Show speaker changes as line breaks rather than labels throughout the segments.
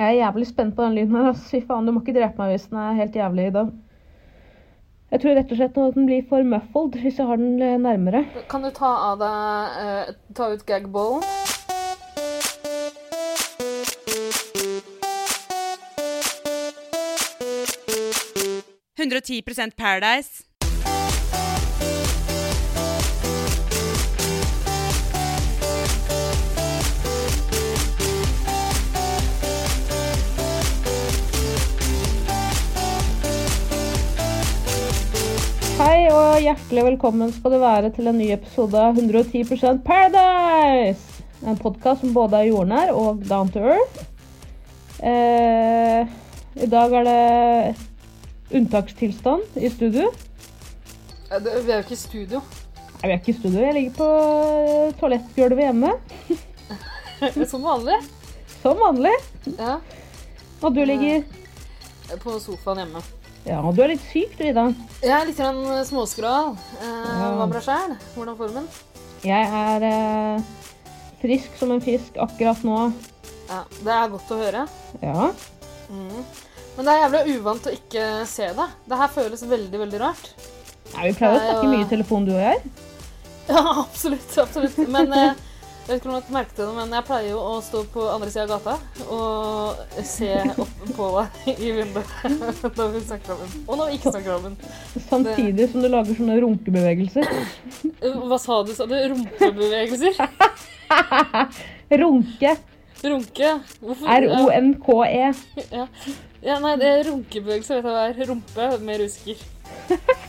Jeg er jævlig spent på den lyden her. ass. Fy faen, du må ikke drepe meg hvis den er helt jævlig i dag. Jeg tror rett og slett at den blir for muffled hvis jeg har den eh, nærmere.
Kan du ta av deg eh, Ta ut gagballen?
Paradise.
Hei og hjertelig velkommen skal du være til en ny episode av 110 Paradise! En podkast som både er jordnær og down to earth. Eh, I dag er det unntakstilstand i studio.
Eh, det- Vi er jo ikke i studio.
Nei, vi er ikke i studio, jeg ligger på eh, toalettgulvet hjemme.
Som vanlig.
Som vanlig.
Ja.
Og du ligger
På sofaen hjemme.
Ja, du er litt syk du, Ida.
Jeg er litt grann småskral. Eh,
Ja.
Hva med deg sjæl? Hvordan er formen?
Jeg er eh, frisk som en fisk akkurat nå.
Ja, det er godt å høre.
Ja.
Mm. Men det er jævlig uvant å ikke se deg. Det her føles veldig, veldig rart.
Nei, vi pleier å
Nei,
snakke
og-
mye i telefon, du og jeg.
Ja, absolutt. absolutt. Men eh, jeg vet ikke om du merket det, men jeg pleier jo å stå på andre sida av gata og se opp på deg i vinduet når vi snakker sammen. Og når vi ikke snakker sammen.
Samtidig som du lager sånne runkebevegelser.
Eh, Hva sa du? Sa du rumpebevegelser?
Runke.
Runke? Hvorfor?
R-O-N-K-E.
Ja. ja, nei, det er runkebevegelser vet jeg hva er. Rumpe med rusker.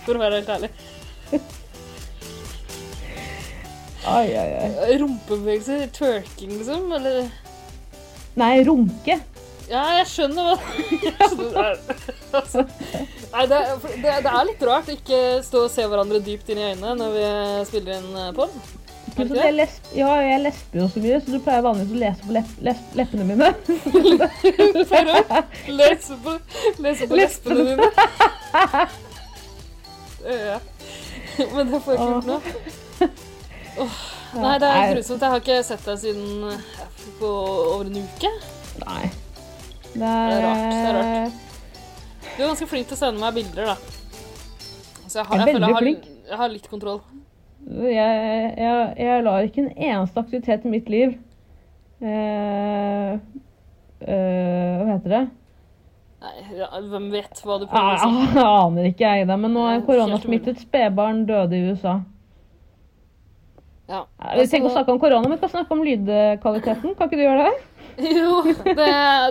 For å være helt ærlig.
Ai, ai, ai.
Rumpebevegelser? Twerking, liksom? Eller
Nei, runke.
Ja, jeg skjønner hva jeg skjønner. Altså, Nei, det, er- for det, det er litt rart å ikke stå og se hverandre dypt inn i øynene når vi spiller inn eh, pod.
Pluss at jeg, lesp, ja, jeg lesper jo så mye, så du pleier vanligvis å lese på lepp, les, leppene mine.
Lese på, lese på lespene dine. Ja. Men det får jeg ikke gjort nå. Åh, nei, det er grusomt. Jeg har ikke sett deg siden eh, på over en uke.
Nei. Det
Det
er,
er rart, det er rart. Du er ganske flink til å sende meg bilder, da. Så jeg, har,
Jeg er
jeg, føler jeg,
veldig
har, jeg har litt kontroll.
Jeg, jeg, jeg lar ikke en eneste aktivitet i mitt liv eh, eh, Hva heter det?
Nei, ja, hvem vet hva du prøver å si?
Jeg aner ikke, jeg, da. Men nå er
Helt
koronasmittet spedbarn døde i USA.
Ja.
Nei, Vi trenger ikke å snakke om korona, men vi kan snakke om lydkvaliteten. Kan ikke du gjøre det?
Jo, det,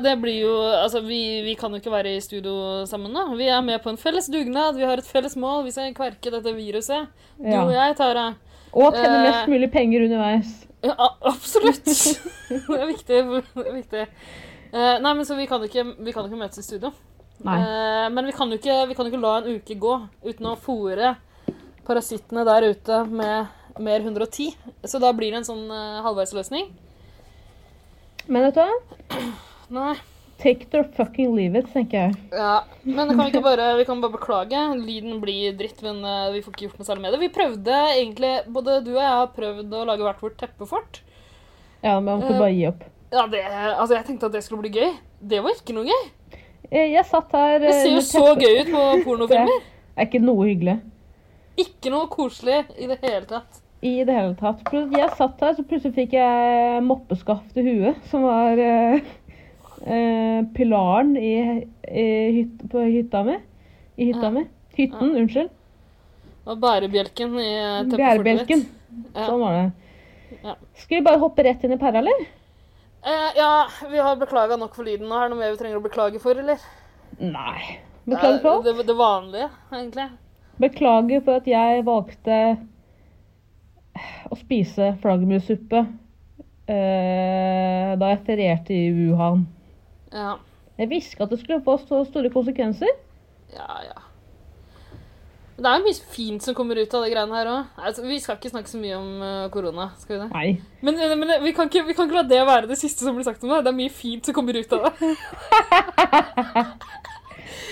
det blir jo Altså, vi, vi kan jo ikke være i studio sammen, da. Vi er med på en felles dugnad, vi har et felles mål. Vi skal kverke dette viruset. Du
Ja.
og jeg, Tara.
Og tjene
Eh,
mest mulig penger underveis.
Ja, a- absolutt! Det er viktig. Det er viktig. Eh, nei, men så vi kan ikke, vi kan ikke møtes i studio.
Nei.
Eh, men vi kan, jo ikke, vi kan jo ikke la en uke gå uten å fòre parasittene der ute med mer 110. Så da blir det en sånn eh, halvveisløsning.
Men vet du hva?
Nei.
Take it or fucking leave it, tenker jeg.
Ja, men kan vi, ikke bare, vi kan bare beklage. Lyden blir dritt, men eh, vi får ikke gjort noe særlig med det. Vi prøvde egentlig, Både du og jeg har prøvd å lage hvert vårt teppefort.
Ja, men Man får
Eh.
bare gi opp.
Ja, det, altså Jeg tenkte at det skulle bli gøy. Det var ikke noe gøy.
Eh, Jeg satt her
Det ser jo så gøy ut på pornofilmer.
Det er ikke noe hyggelig
Ikke noe koselig i det hele tatt.
i det hele tatt. Plus- Jeg satt her, så plutselig fikk jeg moppeskaft i huet, som var eh, eh, pilaren i, i hyt, på hytta mi. I hytta
Ja.
mi. Hytten, unnskyld.
Og bærebjelken i eh, teppefortet
Bjærebjelken.
mitt. Ja.
Sånn var det.
Ja.
Skal vi bare hoppe rett inn i pæra, eller?
Eh, ja, vi har beklaga nok for lyden nå. Er det noe mer vi trenger å beklage for, eller?
Nei. Beklager for alt.
Ja, det, det vanlige, egentlig.
Beklager for at jeg valgte eh, å spise flaggermussuppe eh, da jeg ferierte i Wuhan.
Ja.
Jeg visste ikke at det skulle få så store konsekvenser.
Ja, ja. Det er jo mye fint som kommer ut av det greiene her òg. Altså, vi skal ikke snakke så mye om eh, korona. skal vi det?
Nei.
Men, eh, men vi, kan ikke, vi kan ikke la det være det siste som blir sagt om det. Det er mye fint som kommer ut av det.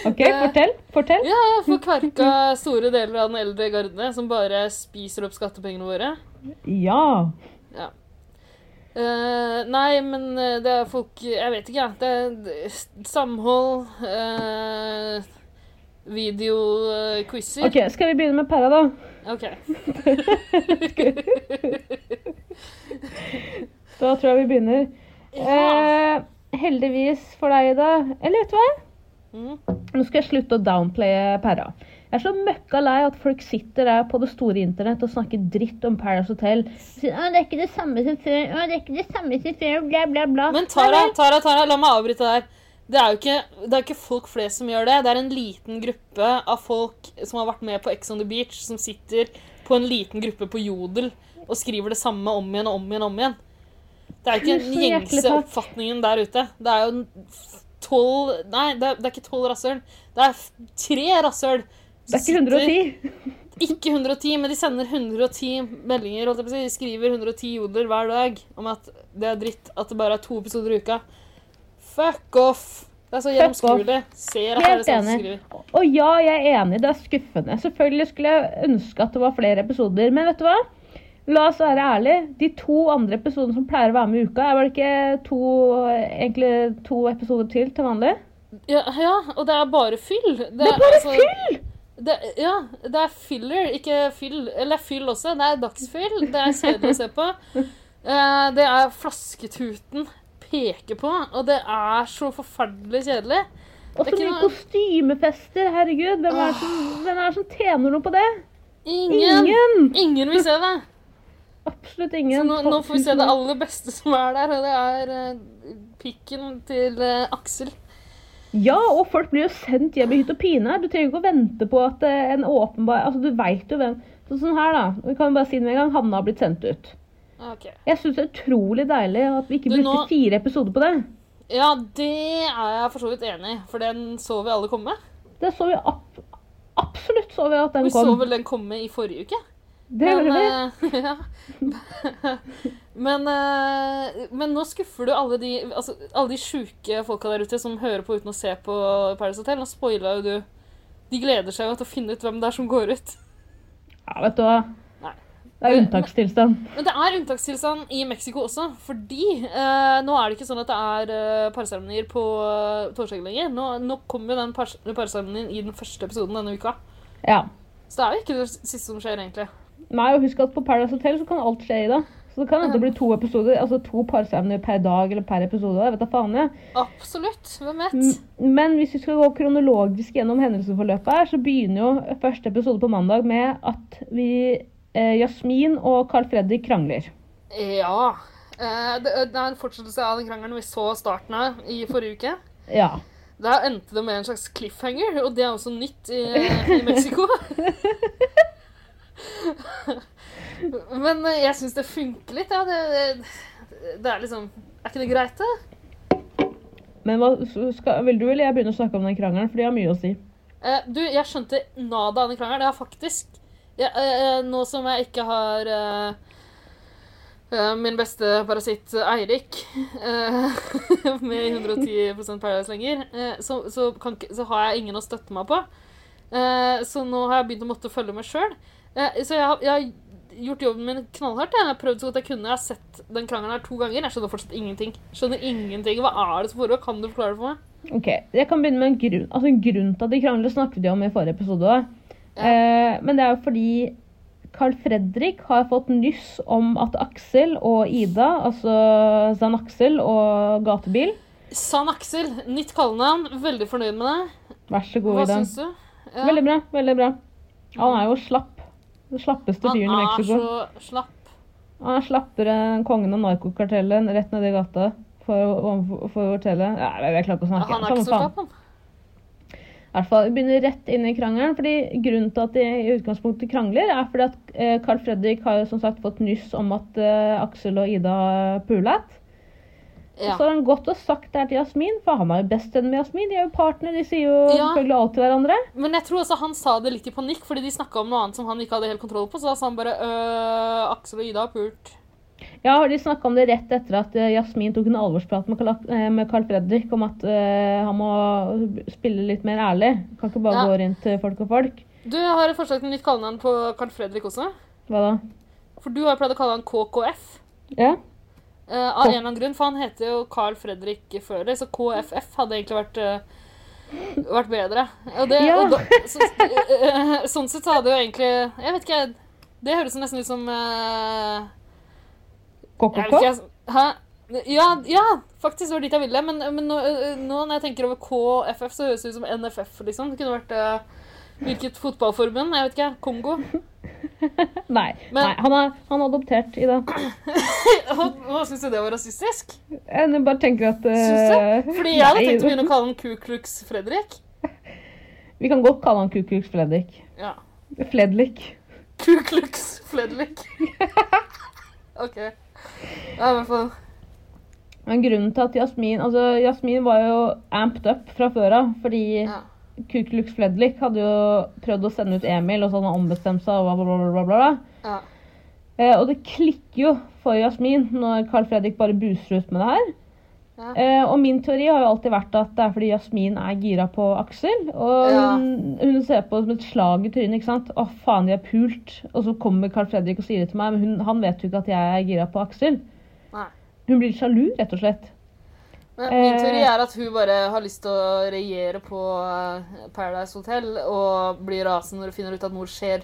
OK,
Eh.
fortell. Fortell.
Ja, For kverka store deler av den eldre garde som bare spiser opp skattepengene våre.
Ja.
Ja. Eh, nei, men eh, det er folk Jeg vet ikke, jeg. Det er d- samhold, uh, videoquizer.
Ok, skal vi begynne med Perra, da? Da tror jeg vi begynner.
Ja.
Eh, heldigvis for deg, Ida. Eller vet du hva?
Mm.
Nå skal jeg slutte å downplaye Perra. Jeg er så møkka lei at folk sitter der på det store internett og snakker dritt om Paradise Hotel. Og Sier, å, 'Det er ikke det samme som før', å, 'det er ikke det samme som før', bla, bla, bla.
Men Tara,
Nei, nei.
Tara, Tara, la meg avbryte der. Det er jo ikke, det er ikke folk flest som gjør det. Det er en liten gruppe av folk som har vært med på Ex on the Beach, som sitter på en liten gruppe på Jodel og skriver det samme om igjen og om igjen og om igjen. Det er jo ikke
Så
den
jæklig
gjengse
tøft.
oppfatningen der ute. Det er jo en f- tolv Nei, det er, det er ikke tolv rasshøl. Det er f- tre rasshøl.
Det er ikke 110.
Ikke 110, men de sender 110 meldinger. Holdt jeg på å si. De skriver 110 jodler hver dag om at det er dritt at det bare er to episoder i uka. Fuck off! Det er så gjennomskuelig. Ser at det er
Helt
det samme som
enig.
skriver.
Og ja, jeg er enig, det er skuffende. Selvfølgelig skulle jeg ønske at det var flere episoder, men vet du hva? La oss være ærlige. De to andre episodene som pleier å være med i uka, er vel ikke to, egentlig to episoder til til vanlig?
Ja, ja, og det er bare fyll. Det,
Det er bare
altså,
fyll!
Det, ja, det er filler, ikke fyll. Eller det er fyll også. Det er dagsfyll. Det er kjedelig å se på. Eh, det er flasketuten peker på, og det er så forferdelig kjedelig.
Og
det er
så
ikke
mye
noe-
kostymefester, herregud. Hvem er det som, hvem er det som tjener noe på det?
Ingen,
Ingen!
ingen vil se det.
Absolutt
Så
ingen.
nå, nå får vi se det aller beste som er der, og det er eh, pikken til eh, Aksel.
Ja, og folk blir jo sendt hjem i hytt og pine. her. Du trenger ikke å vente på at eh, en åpenbar Altså, du veit jo hvem Så Sånn her, da. Vi kan jo bare si det med en gang. Hanne har blitt sendt ut.
Ok.
Jeg syns det er utrolig deilig at vi ikke
Du,
brukte
nå-
fire episoder på det.
Ja, det er jeg for så vidt enig i, for den så vi alle komme.
Det så vi ab absolutt så vi at den
Vi så
kom.
vel den komme i forrige uke.
Det gjorde vi.
eh, ja. men, eh, men nå skuffer du alle de, altså, alle de sjuke folka der ute som hører på uten å se på Paradise Hotel. Nå spoila jo du. De gleder seg jo til å finne ut hvem det er som går ut.
Ja, vet du hva.
eh, Nei. Eh,
Det er unntakstilstand.
Men det er unntakstilstand i Mexico også, fordi eh, nå er det ikke sånn at det er eh, parseremonier på eh, torsdag lenger. Nå, nå kommer jo den pars- parseremonien i den første episoden denne uka.
Ja.
Så det er jo ikke det siste som skjer, egentlig.
Nei, og husk at på Paradise Hotel så kan alt skje i det. Så det kan hende det blir to episoder, altså to parsemner per dag eller per episode. Jeg vet da faen jeg.
Absolutt. Hvem vet?
M- Men hvis vi skal gå kronologisk gjennom hendelsesforløpet her, så begynner jo første episode på mandag med at vi eh, Jasmin og Carl Fredrik krangler.
Ja. Eh, det, det er en fortsettelse av den krangelen vi så starten av i forrige uke.
Ja.
Der endte det med en slags cliffhanger, og det er også nytt i, i Mexico. Men eh, jeg syns det funker litt. Ja. Det, det er liksom Er ikke det greit, det?
Men hva, s- skal, vil du eller jeg begynne å snakke om den krangelen, for de har mye å si.
Eh, du, jeg skjønte nada av den krangelen. Jeg har faktisk jeg, eh, eh, Nå som jeg ikke har eh, eh, min beste parasitt eh, Eirik eh, med 110 Paradise lenger, eh, så, så, kan, ikke- så har jeg ingen å støtte meg på. Eh, så nå har jeg begynt å måtte følge med sjøl. Eh, så jeg, har- jeg har gjort jobben min knallhardt. Jeg har prøvd så godt jeg kunne. Jeg har sett den krangelen her to ganger. Jeg skjønner fortsatt ingenting. Skjønner ingenting. Hva er det som foregår? Kan du forklare det for meg?
Ok, Jeg kan begynne med en grunn. Altså en grunn til at de krangler, snakket vi om i forrige episode. også.
Ja.
Eh, men det er jo fordi Carl Fredrik har fått nyss om at Aksel og Ida, altså Zan Aksel og Gatebil
San Aksel, nytt kallenavn. Veldig fornøyd med det.
Vær så god,
Hva
Ida.
syns du? Ja.
Veldig bra. veldig bra. Han er jo slapp. Den slappeste fyren i
Han er
Mexico.
så slapp.
Han er slappere enn kongen av narkokartellet rett nedi gata for, for, for hotellet. Ja, jeg, jeg klarer ikke å snakke.
Han er
Samme
ikke så
faen.
slapp, han.
I hvert fall, Vi begynner rett inn i krangelen. fordi Grunnen til at de i utgangspunktet krangler, er fordi at eh, Carl Fredrik har jo som sagt fått nyss om at eh, Aksel og Ida har pulet.
Ja.
Så har han gått og sagt det her til Jasmin, for han er jo bestevenn med Jasmin. De er jo partner, de sier jo
Ja.
selvfølgelig alt til hverandre.
Men jeg tror også han sa det litt i panikk, fordi de snakka om noe annet som han ikke hadde helt kontroll på. Så da sa han bare øh, Aksel og Ida har pult.
Ja, og De snakka om det rett etter at eh, Jasmin tok en alvorsprat med Carl- eh, med Carl Fredrik om at eh, han må spille litt mer ærlig. Kan ikke bare
Ja.
gå rundt til folk og folk.
Du jeg har et forslag til nytt kallenavn på Carl Fredrik også.
Hva da?
For du har jo pleid å kalle han KKF.
Ja?
Eh, Eh, av en eller annen grunn, for han heter jo Carl Fredrik før det, så KFF hadde egentlig vært eh, vært bedre. Og det,
Ja.
og da, så, eh, sånn sett så hadde jo egentlig Jeg vet ikke, det høres nesten ut som eh, jeg vet
Kokk-kokk?
ikke, jeg, hæ? Ja, ja, faktisk var det dit jeg ville. Men, men nå, øh, nå når jeg tenker over KFF, så høres det ut som NFF, liksom. Det kunne vært øh, Hvilket fotballforbund? Jeg vet ikke. Kongo?
Nei.
Men-
Nei han, er, han er adoptert, Ida.
Hva, hva syns du det var rasistisk?
Jeg bare tenker at
Syns
eh,
Fordi jeg hadde
nei,
tenkt å begynne å kalle han Ku Klux Fredrik.
Vi kan godt kalle han Kukuks Fledrik.
Ja.
Fledlik.
Ku Klux Fredrik. OK. Ja, i hvert fall.
Men grunnen til at Jasmin Altså, Jasmin var jo amped up fra før av. Fordi
Ja.
Kuklux Fledlik hadde jo prøvd å sende ut Emil, og så hadde han ombestemt seg. og bla, bla, bla, bla, bla.
ja.
Eh, og det klikker jo for Jasmin når Carl Fredrik bare buser ut med det her.
Ja.
Eh, og min teori har jo alltid vært at det er fordi Jasmin er gira på Aksel. Og
Ja.
hun, hun ser på det som et slag i trynet. ikke sant? Å, faen, de er pult. Og så kommer Carl Fredrik og sier det til meg, men hun, han vet jo ikke at jeg er gira på Aksel.
Nei.
Hun blir sjalu, rett og slett.
Men min
Eh.
teori er at hun bare har lyst til å regjere på eh, Paradise Hotel og blir rasende når hun finner ut at noe skjer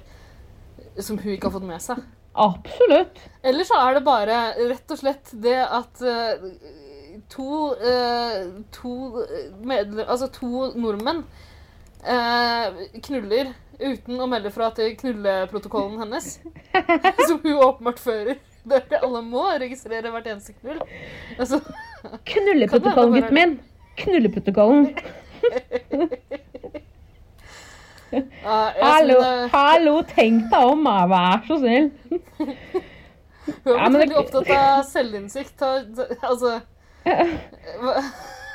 som hun ikke har fått med seg.
Absolutt.
Eller så er det bare rett og slett det at eh, to, eh, to, medle- altså to nordmenn eh, knuller uten å melde fra til knulleprotokollen hennes. Som hun åpenbart fører. Det er det alle må registrere hvert eneste knull. Altså,
Knulleprotokollen,
Kan det være-
gutten min. Knulleprotokollen.
ja, jeg
Hallo,
synes det-
hallo, tenk deg om, da. vær så snill.
Hun
Ja, men
har blitt
det-
veldig opptatt av selvinnsikt. av- Altså hva,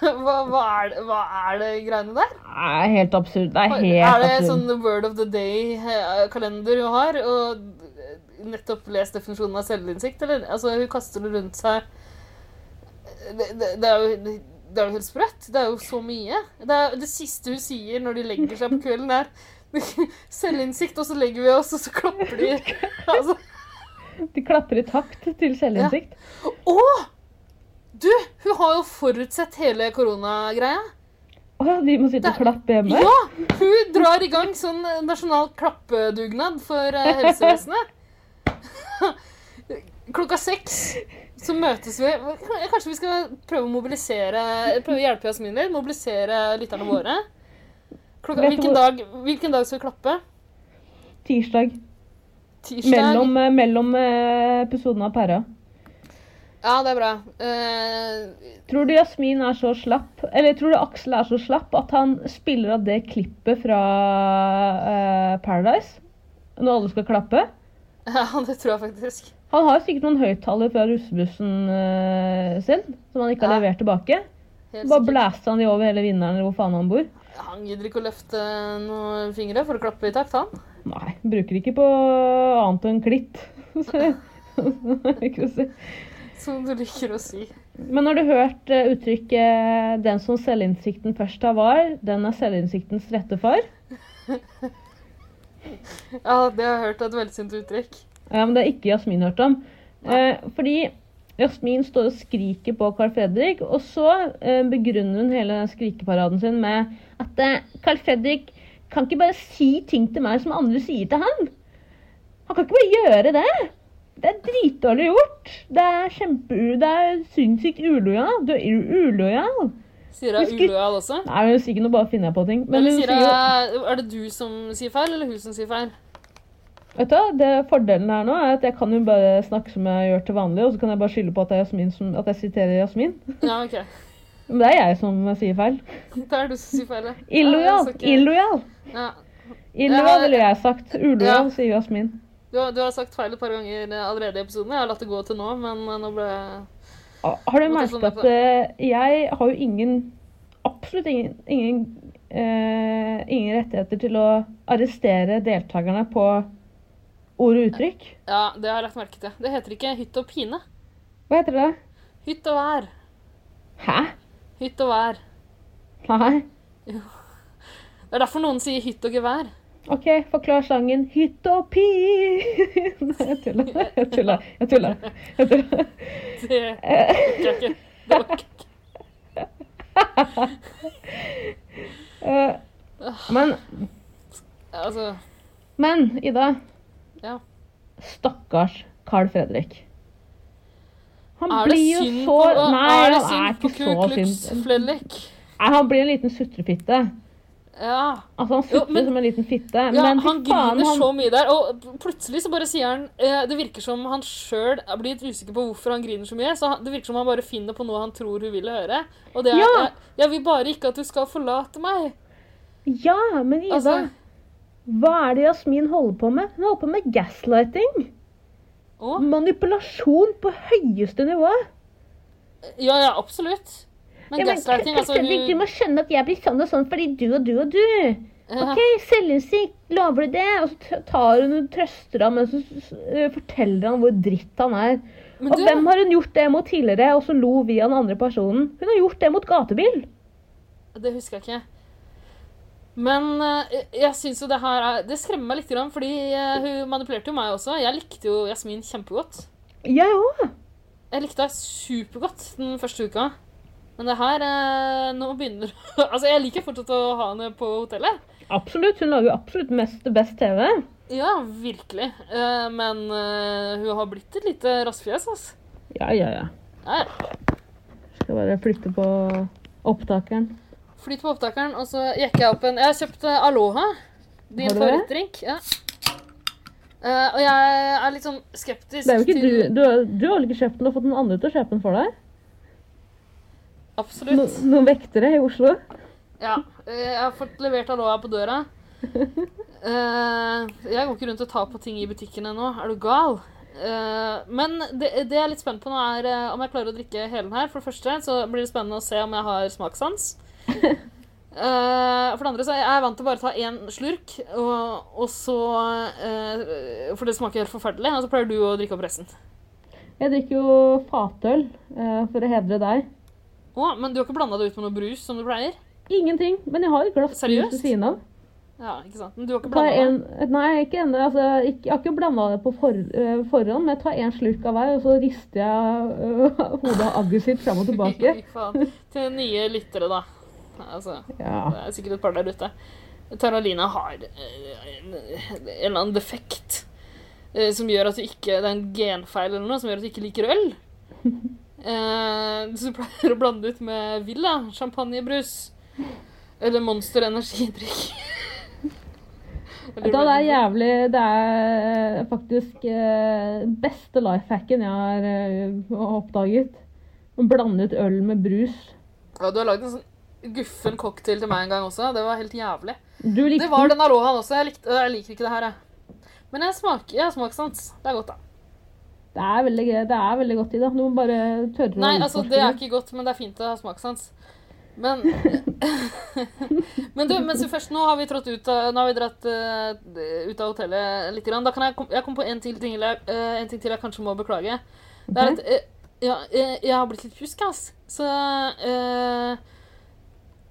hva, hva, er, det- hva er det greiene der?
Det er helt absurd. Det er helt
Er det
absurd.
sånn Word of the Day-kalender hun har? Og nettopp lest definisjonen av selvinnsikt, eller? Altså, hun kaster det rundt seg Det, det, det er jo det er jo helt sprøtt. Det er jo så mye. Det, er, det siste hun sier når de legger seg på kvelden, er selvinnsikt, og så legger vi oss, og så klapper de. Altså,
De klapper i takt til selvinnsikt.
Å! Du, hun har jo forutsett hele koronagreia.
Å ja, de må sitte og
Det-
klappe hjemme?
Ja! Hun drar i gang sånn nasjonal klappedugnad for eh, helsevesenet. Klokka seks så møtes vi. Kanskje vi skal prøve å mobilisere Prøve å hjelpe Jasmin litt? Mobilisere lytterne våre? Klokka,
Vet du
hvilken,
hvor-
dag, hvilken dag skal vi klappe?
Tirsdag.
Tirsdag?
Mellom, eh, mellom eh, episodene av Pæra.
Ja, det er bra. Eh,
Tror du Jasmin er så slapp, eller tror du Aksel er så slapp at han spiller av det klippet fra eh, Paradise? Når alle skal klappe?
ja, det tror jeg faktisk.
Han har sikkert noen høyttaler fra russebussen eh, sin som han ikke har
Ja.
levert tilbake.
Helt
Bare
sikkert.
blæste han de over hele vinneren eller hvor faen han bor.
Han gidder ikke å løfte noen fingre for å klappe i takt, han.
Nei, bruker ikke på annet enn klitt. Ikke å si.
Som du liker å si.
Men har du hørt eh, uttrykket 'den som selvinnsikten først har var, den er selvinnsiktens rette far'?
Ja, det har jeg hørt er et velsynt uttrykk.
Ja, men det har ikke Jasmin hørt om. Eh, fordi Jasmin står og skriker på Carl Fredrik, og så eh, begrunner hun hele den skrikeparaden sin med at eh, Carl Fredrik kan ikke bare si ting til meg som andre sier til han. Han kan ikke bare gjøre det. Det er dritdårlig gjort. Det er kjempe... Det er sinnssykt ulojal. Du er u- ulojal.
Sier hun
Husker-
ulojal også?
Nei, men hun sier ikke noe, bare finner jeg på ting. Men
Eller
hun
sier
sier jo
hun Er det du som sier feil, eller hun som sier feil?
Vet du, hva, det Fordelen her nå er at jeg kan jo bare snakke som jeg gjør til vanlig, og så kan jeg bare skylde på at, det er Jasmin som, at jeg siterer Jasmin.
Ja, OK.
Men det er jeg som sier feil.
Det er du som sier feil, ja. Ja, jeg
Illojal!
skal ikke-
Illojal!
Ja.
Illojal ville jeg sagt. Ulojal,
Ja.
sier Jasmin.
Du, har- du har sagt feil et par ganger eh, allerede i episoden. Jeg har latt det gå til nå, men eh, nå ble jeg
Ah, Har du
Måtte
merket
sånn slå meg
at eh, jeg har jo ingen Absolutt ingen ingen, eh, ingen rettigheter til å arrestere deltakerne på ord og uttrykk?
Ja, det har jeg lagt merke til. Det heter ikke hytt og pine.
Hva heter det?
Hytt og vær.
Hæ?
Hytt og vær.
Nei?
Det er derfor noen sier hytt og gevær.
OK, forklar sangen 'Hytte og pi'. Nei, jeg tuller. Jeg tuller. Jeg tuller. Jeg tuller.
Det
Eh,
orker jeg ikke. Det orker jeg ikke.
eh, men,
Altså,
men, Ida.
ja.
Stakkars Carl Fredrik. Han
Er det
blir jo
synd
så
på,
Nei,
er
han
det
er
synd på
ikke
Ku
så
Klux
synd.
Fredrik?
Nei, han blir en liten sutrefitte.
Ja.
Altså, han
Jo,
sutrer
men-
som en liten fitte.
ja
men fy
han
faen,
griner
han
så mye der, og pl- plutselig så bare sier han eh, Det virker som han sjøl er blitt usikker på hvorfor han griner så mye. Så han, det virker som han bare finner på noe han tror hun vil høre. Og det er
Ja.
jeg, 'Jeg vil bare ikke at du skal forlate meg'.
Ja, men Ida.
Altså-
Hva er det Jasmin holder på med? Hun holder på med gaslighting.
Å,
Manipulasjon på høyeste nivå.
ja, ja, absolutt. Men
Ja,
gaslighting,
Carl
altså
Fredrik, du
hun
må skjønne at jeg blir sånn og sånn fordi du og du og du.
Ja.
Ok, selvinnsikt, lover du det? Og så t- tar hun og trøster ham, men så s- eh, forteller han hvor dritt han er.
Men
Og
du,
hvem har hun gjort det mot tidligere, og så lo vi av den andre personen? Hun har gjort det mot gatebil.
det husker jeg ikke. Men eh, jeg syns jo det her er Det skremmer meg litt, grann, fordi eh, hun manipulerte jo meg også. Jeg likte jo Jasmin kjempegodt.
Jeg òg.
Jeg likte deg supergodt den første uka. Men det her eh, Nå begynner Altså, jeg liker fortsatt å ha henne på hotellet.
Absolutt. Hun lager jo absolutt mest best TV.
Ja, virkelig. Eh, men eh, hun har blitt et lite rassfjes, altså.
Ja, ja, ja.
Ja, ja.
Skal bare flytte på opptakeren.
Flyt på opptakeren, og så jekker jeg opp en Jeg har kjøpt eh, Aloha. Din
Har du det?
favorittdrink. Ja. Eh, og jeg er litt sånn skeptisk
Det er jo ikke
til
du, du, har- du har vel ikke kjøpt den og fått noen andre til å kjøpe den for deg? No,
Absolutt.
noen vektere i Oslo?
Ja. eh, Jeg har fått levert Aloha på døra. Eh, jeg går ikke rundt og tar på ting i butikkene nå. Er du gal? Eh, men det, det jeg er litt spent på nå, er eh, om jeg klarer å drikke hele den her. For det første så blir det spennende å se om jeg har smakssans. Eh, for det andre så er jeg vant til bare å ta én slurk, og, og så eh, For det smaker helt forferdelig. Og så pleier du å drikke opp resten.
Jeg drikker jo fatøl eh, for å hedre deg.
Å, men du har ikke blanda det ut med noe brus, som du pleier?
Ingenting, men jeg har et glass brus ved
Seriøst?
siden av.
Ja, ikke sant? Men du har ikke
Tar
blandet
jeg en, nei, ikke ennå. Altså, ikke- jeg har ikke blanda det på for, eh, forhånd, men jeg tar én slurk av hver, og så rister jeg eh, hodet av agget sitt fram og tilbake.
Fy faen. Til nye lyttere, da. Altså,
Ja.
det er sikkert et par der ute. Taralina har eh, en en eller annen defekt eh, som gjør at du ikke Det er en genfeil eller noe som gjør at du ikke liker øl. Eh, så du pleier å blande ut med Villa, champagnebrus eller Monster energidrikk. Eller
Vet du hva, det er
Red Bull.
jævlig Det er faktisk eh, beste lifehacken jeg har eh, oppdaget. Å blande ut øl med brus.
ja, du har lagd en sånn guffen cocktail til meg en gang også. Det var helt jævlig.
Du likte
Det var den alohaen også. Jeg, likte, jeg liker ikke det her, jeg. Men jeg, smaker, jeg har smakssans. Det er godt, da.
Det er veldig, gøy- det er veldig godt, Ida. Du må bare tørre
Nei,
å
altså,
utforske
det er ikke godt, men det er fint å ha smakssans. Men Men du, mens vi først nå har vi trådt ut av Nå har vi dratt eh, ut av hotellet litt. Grann. Da kan jeg, kom, jeg kom på en, til, ting, jeg- eh, en ting til jeg kanskje må beklage. Det er at eh, ja, jeg, jeg har blitt litt pjusk, ass. Så eh,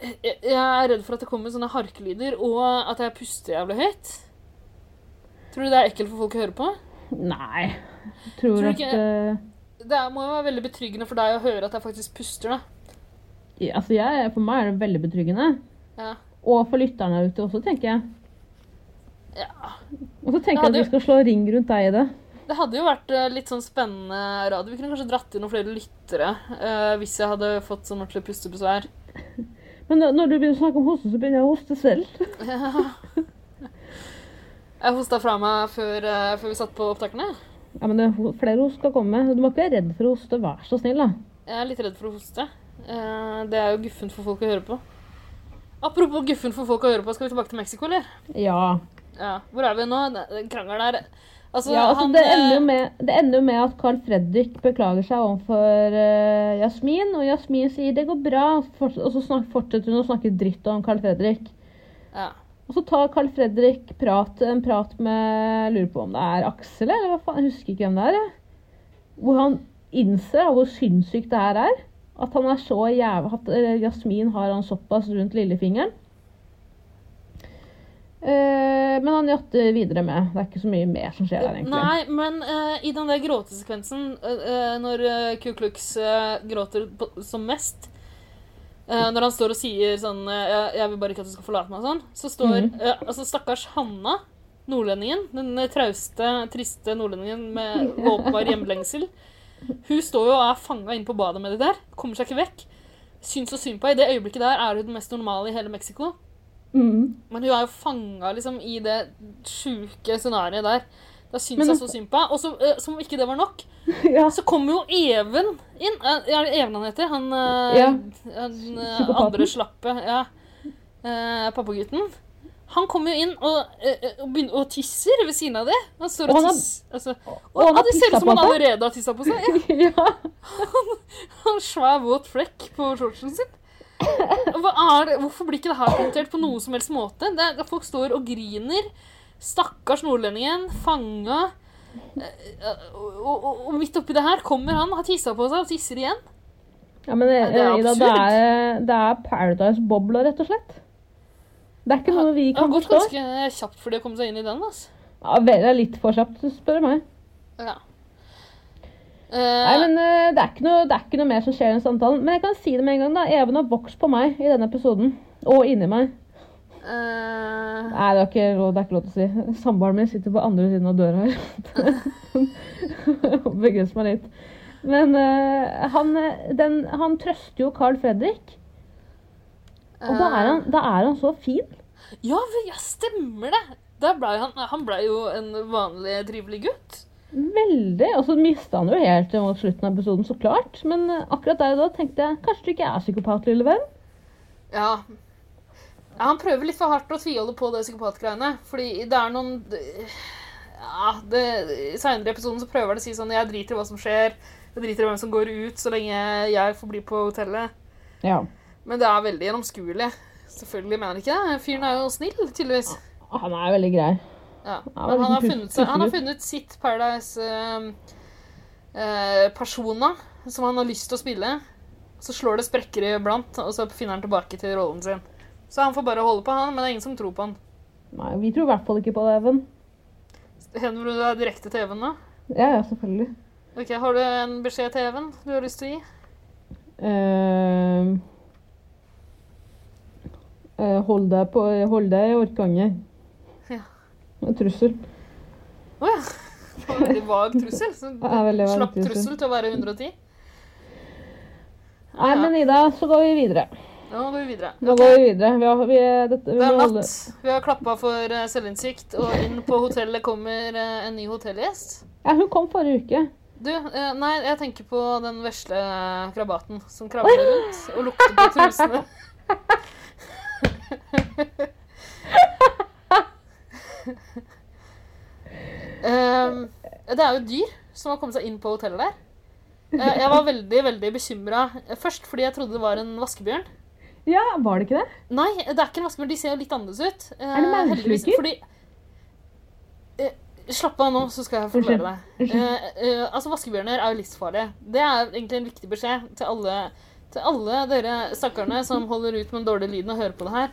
jeg, jeg er redd for at det kommer sånne harkelyder, og at jeg puster jævlig høyt. Tror du det er ekkelt for folk å høre på?
Nei. Jeg tror,
Tror du
at
ikke-
eh,
Det er- må jo være veldig betryggende for deg å høre at jeg faktisk puster, da.
ja, Altså, jeg, for meg er det veldig betryggende.
Ja.
Og for lytterne ute også, tenker jeg.
ja.
Og så tenker jeg
Ja,
at
du-
vi skal slå ring rundt deg i det.
Det hadde jo vært eh, litt sånn spennende radio. Vi kunne kanskje dratt inn noen flere lyttere eh, hvis jeg hadde fått sånn ordentlig pustebesvær.
Men når du begynner å snakke om hoste, så begynner jeg å hoste selv.
Jeg hosta fra meg før, eh, før vi satte på opptakene.
Ja, men det, er Flere host skal komme. Du må ikke være redd for å hoste. Vær så snill, da.
Jeg er litt redd for å hoste. Eh, det er jo guffent for folk å høre på. Apropos guffent for folk å høre på, skal vi tilbake til Mexico, eller?
Ja.
Ja. Hvor er vi nå? Den krangelen der Altså,
ja, altså,
han
det, ender jo
eh,
med, det ender jo med at Carl Fredrik beklager seg overfor eh, Jasmin, og Jasmin sier 'det går bra', forts- og så snak, fortsetter hun å snakke dritt om Carl Fredrik.
ja.
Og så tar Carl Fredrik prat, en prat med jeg Lurer på om det er Aksel, eller hva faen, jeg husker ikke hvem det er. jeg. Hvor han innser da, hvor sinnssykt det her er. At han er så jævla At eh, Jasmin har han såpass rundt lillefingeren. Eh, men han jatter videre med. Det er ikke så mye mer som skjer der, egentlig.
Nei, men eh, i den der gråtesekvensen, eh, eh, når eh, Ku Klux eh, gråter på, som mest eh, Når han står og sier sånn eh, jeg, 'Jeg vil bare ikke at du skal forlate meg', og sånn, så står
Mhm.
eh, altså stakkars Hanna, nordlendingen, den eh, trauste, triste nordlendingen med åpenbar hjemlengsel, hun står jo og er fanga inne på badet med de der. Kommer seg ikke vekk. Syns så synd på henne. I det øyeblikket der er hun den mest normale i hele Mexico.
Mm.
Men hun er jo fanga liksom, i det sjuke scenarioet der. Da syns
Men-
jeg så synd på henne. Og så, eh, som om ikke det var nok,
ja.
så kommer jo Even inn. Eh, Er det Even han heter? Han, eh,
Ja.
han eh,
Psykopaten.
andre slappe. Ja. Eh, Pappagutten. Han kommer jo inn og, eh, eh, og, begynner, og tisser ved siden av det. Han står
Og
og,
han har-
tisser. Altså,
og han
og,
har
det ser
tisset
ut som
på
han
seg.
allerede har tissa på seg. Ja,
ja.
han har en svær, våt flekk på shortsen sin. Hva er det? Hvorfor blir ikke det her kommentert på noen som helst måte? Det er, folk står og griner. Stakkars nordlendingen. Fanga. Eh, Og, og, og midt oppi det her kommer han, har tissa på seg og tisser igjen.
ja, men eh,
det er
Ida, det
absurd.
er, det er Paradise-bobla, rett og slett. Det er ikke noe vi
Det har
kan
gått
forstå.
ganske kjapt for de å komme seg inn i den. Altså.
Ja, vel, det er litt for kjapt, spør du meg.
Ja.
Nei,
Eh,
men eh, det er, ikke noe, det er ikke noe mer som skjer i den samtalen. Men jeg kan si det med en gang, da. Even har vokst på meg i denne episoden. Og inni meg.
eh,
Nei, det er ikke, lov- det er ikke lov til å si. Samboeren min sitter på andre siden av døra her. Begrenser meg litt. Men eh, han, eh, den, han trøster jo Carl Fredrik. Og da er han, da er han så fin.
eh, Ja, vel, ja, stemmer det! Der ble han, han ble jo en vanlig trivelig gutt.
Veldig. Og så mista han jo helt mot slutten av episoden, så klart. Men eh, akkurat der og da tenkte jeg kanskje du ikke er psykopat, lille venn.
Ja. ja. Han prøver litt for hardt å tviholde på det psykopatgreiene. Fordi det er noen ja, det, I seinere episoden så prøver han å si sånn Jeg driter i hva som skjer. Jeg driter i hvem som går ut, så lenge jeg får bli på hotellet.
Ja.
Men det er veldig gjennomskuelig. Selvfølgelig mener han ikke det. Fyren er jo snill, tydeligvis.
Ah, Han er veldig grei.
Ja.
Ja,
Men han har,
puff-
funnet seg, han har
puffelig.
funnet sitt Paradise-persona som han har lyst til å spille. Så slår det sprekker iblant, og så finner han tilbake til rollen sin. Så han får bare holde på, han, men det er ingen som tror på han.
Nei, vi tror i hvert fall ikke på det, Even.
Henvender du deg direkte til Even nå?
Ja, ja, selvfølgelig.
Ok, Har du en beskjed til Even du har lyst til å gi?
Eh, eh, hold deg på Hold deg i orkeganger.
Ja.
En trussel.
Å ja. Det var en Veldig vag trussel. Så
Det er veldig
slapp
vanlig
trussel til å være 110.
Nei, men Ida, så går vi videre.
Nå går vi videre.
Nå går vi videre. Vi har, vi, dette, vi
Det er
må holde
natt. Vi har klappa for eh, selvinnsikt, og inn på hotellet kommer eh, en ny hotellgjest.
Ja, hun kom forrige uke.
Du, eh, nei, jeg tenker på den vesle eh, krabaten som krabber rundt og lukter på trusene. Ehm, det er jo dyr som har kommet seg inn på hotellet der. Eh, jeg var veldig veldig bekymra først fordi jeg trodde det var en vaskebjørn.
Ja, var det ikke det?
Nei, det er ikke en vaskebjørn. De ser jo litt annerledes ut. Eh,
det maursluker?
heldigvis, Fordi Eh, Slapp av nå, så skal jeg forklare deg. Eh, eh, altså, Vaskebjørner er jo livsfarlige. Det er egentlig en viktig beskjed til alle, til alle dere stakkarene som holder ut med den dårlige lyden og hører på det her.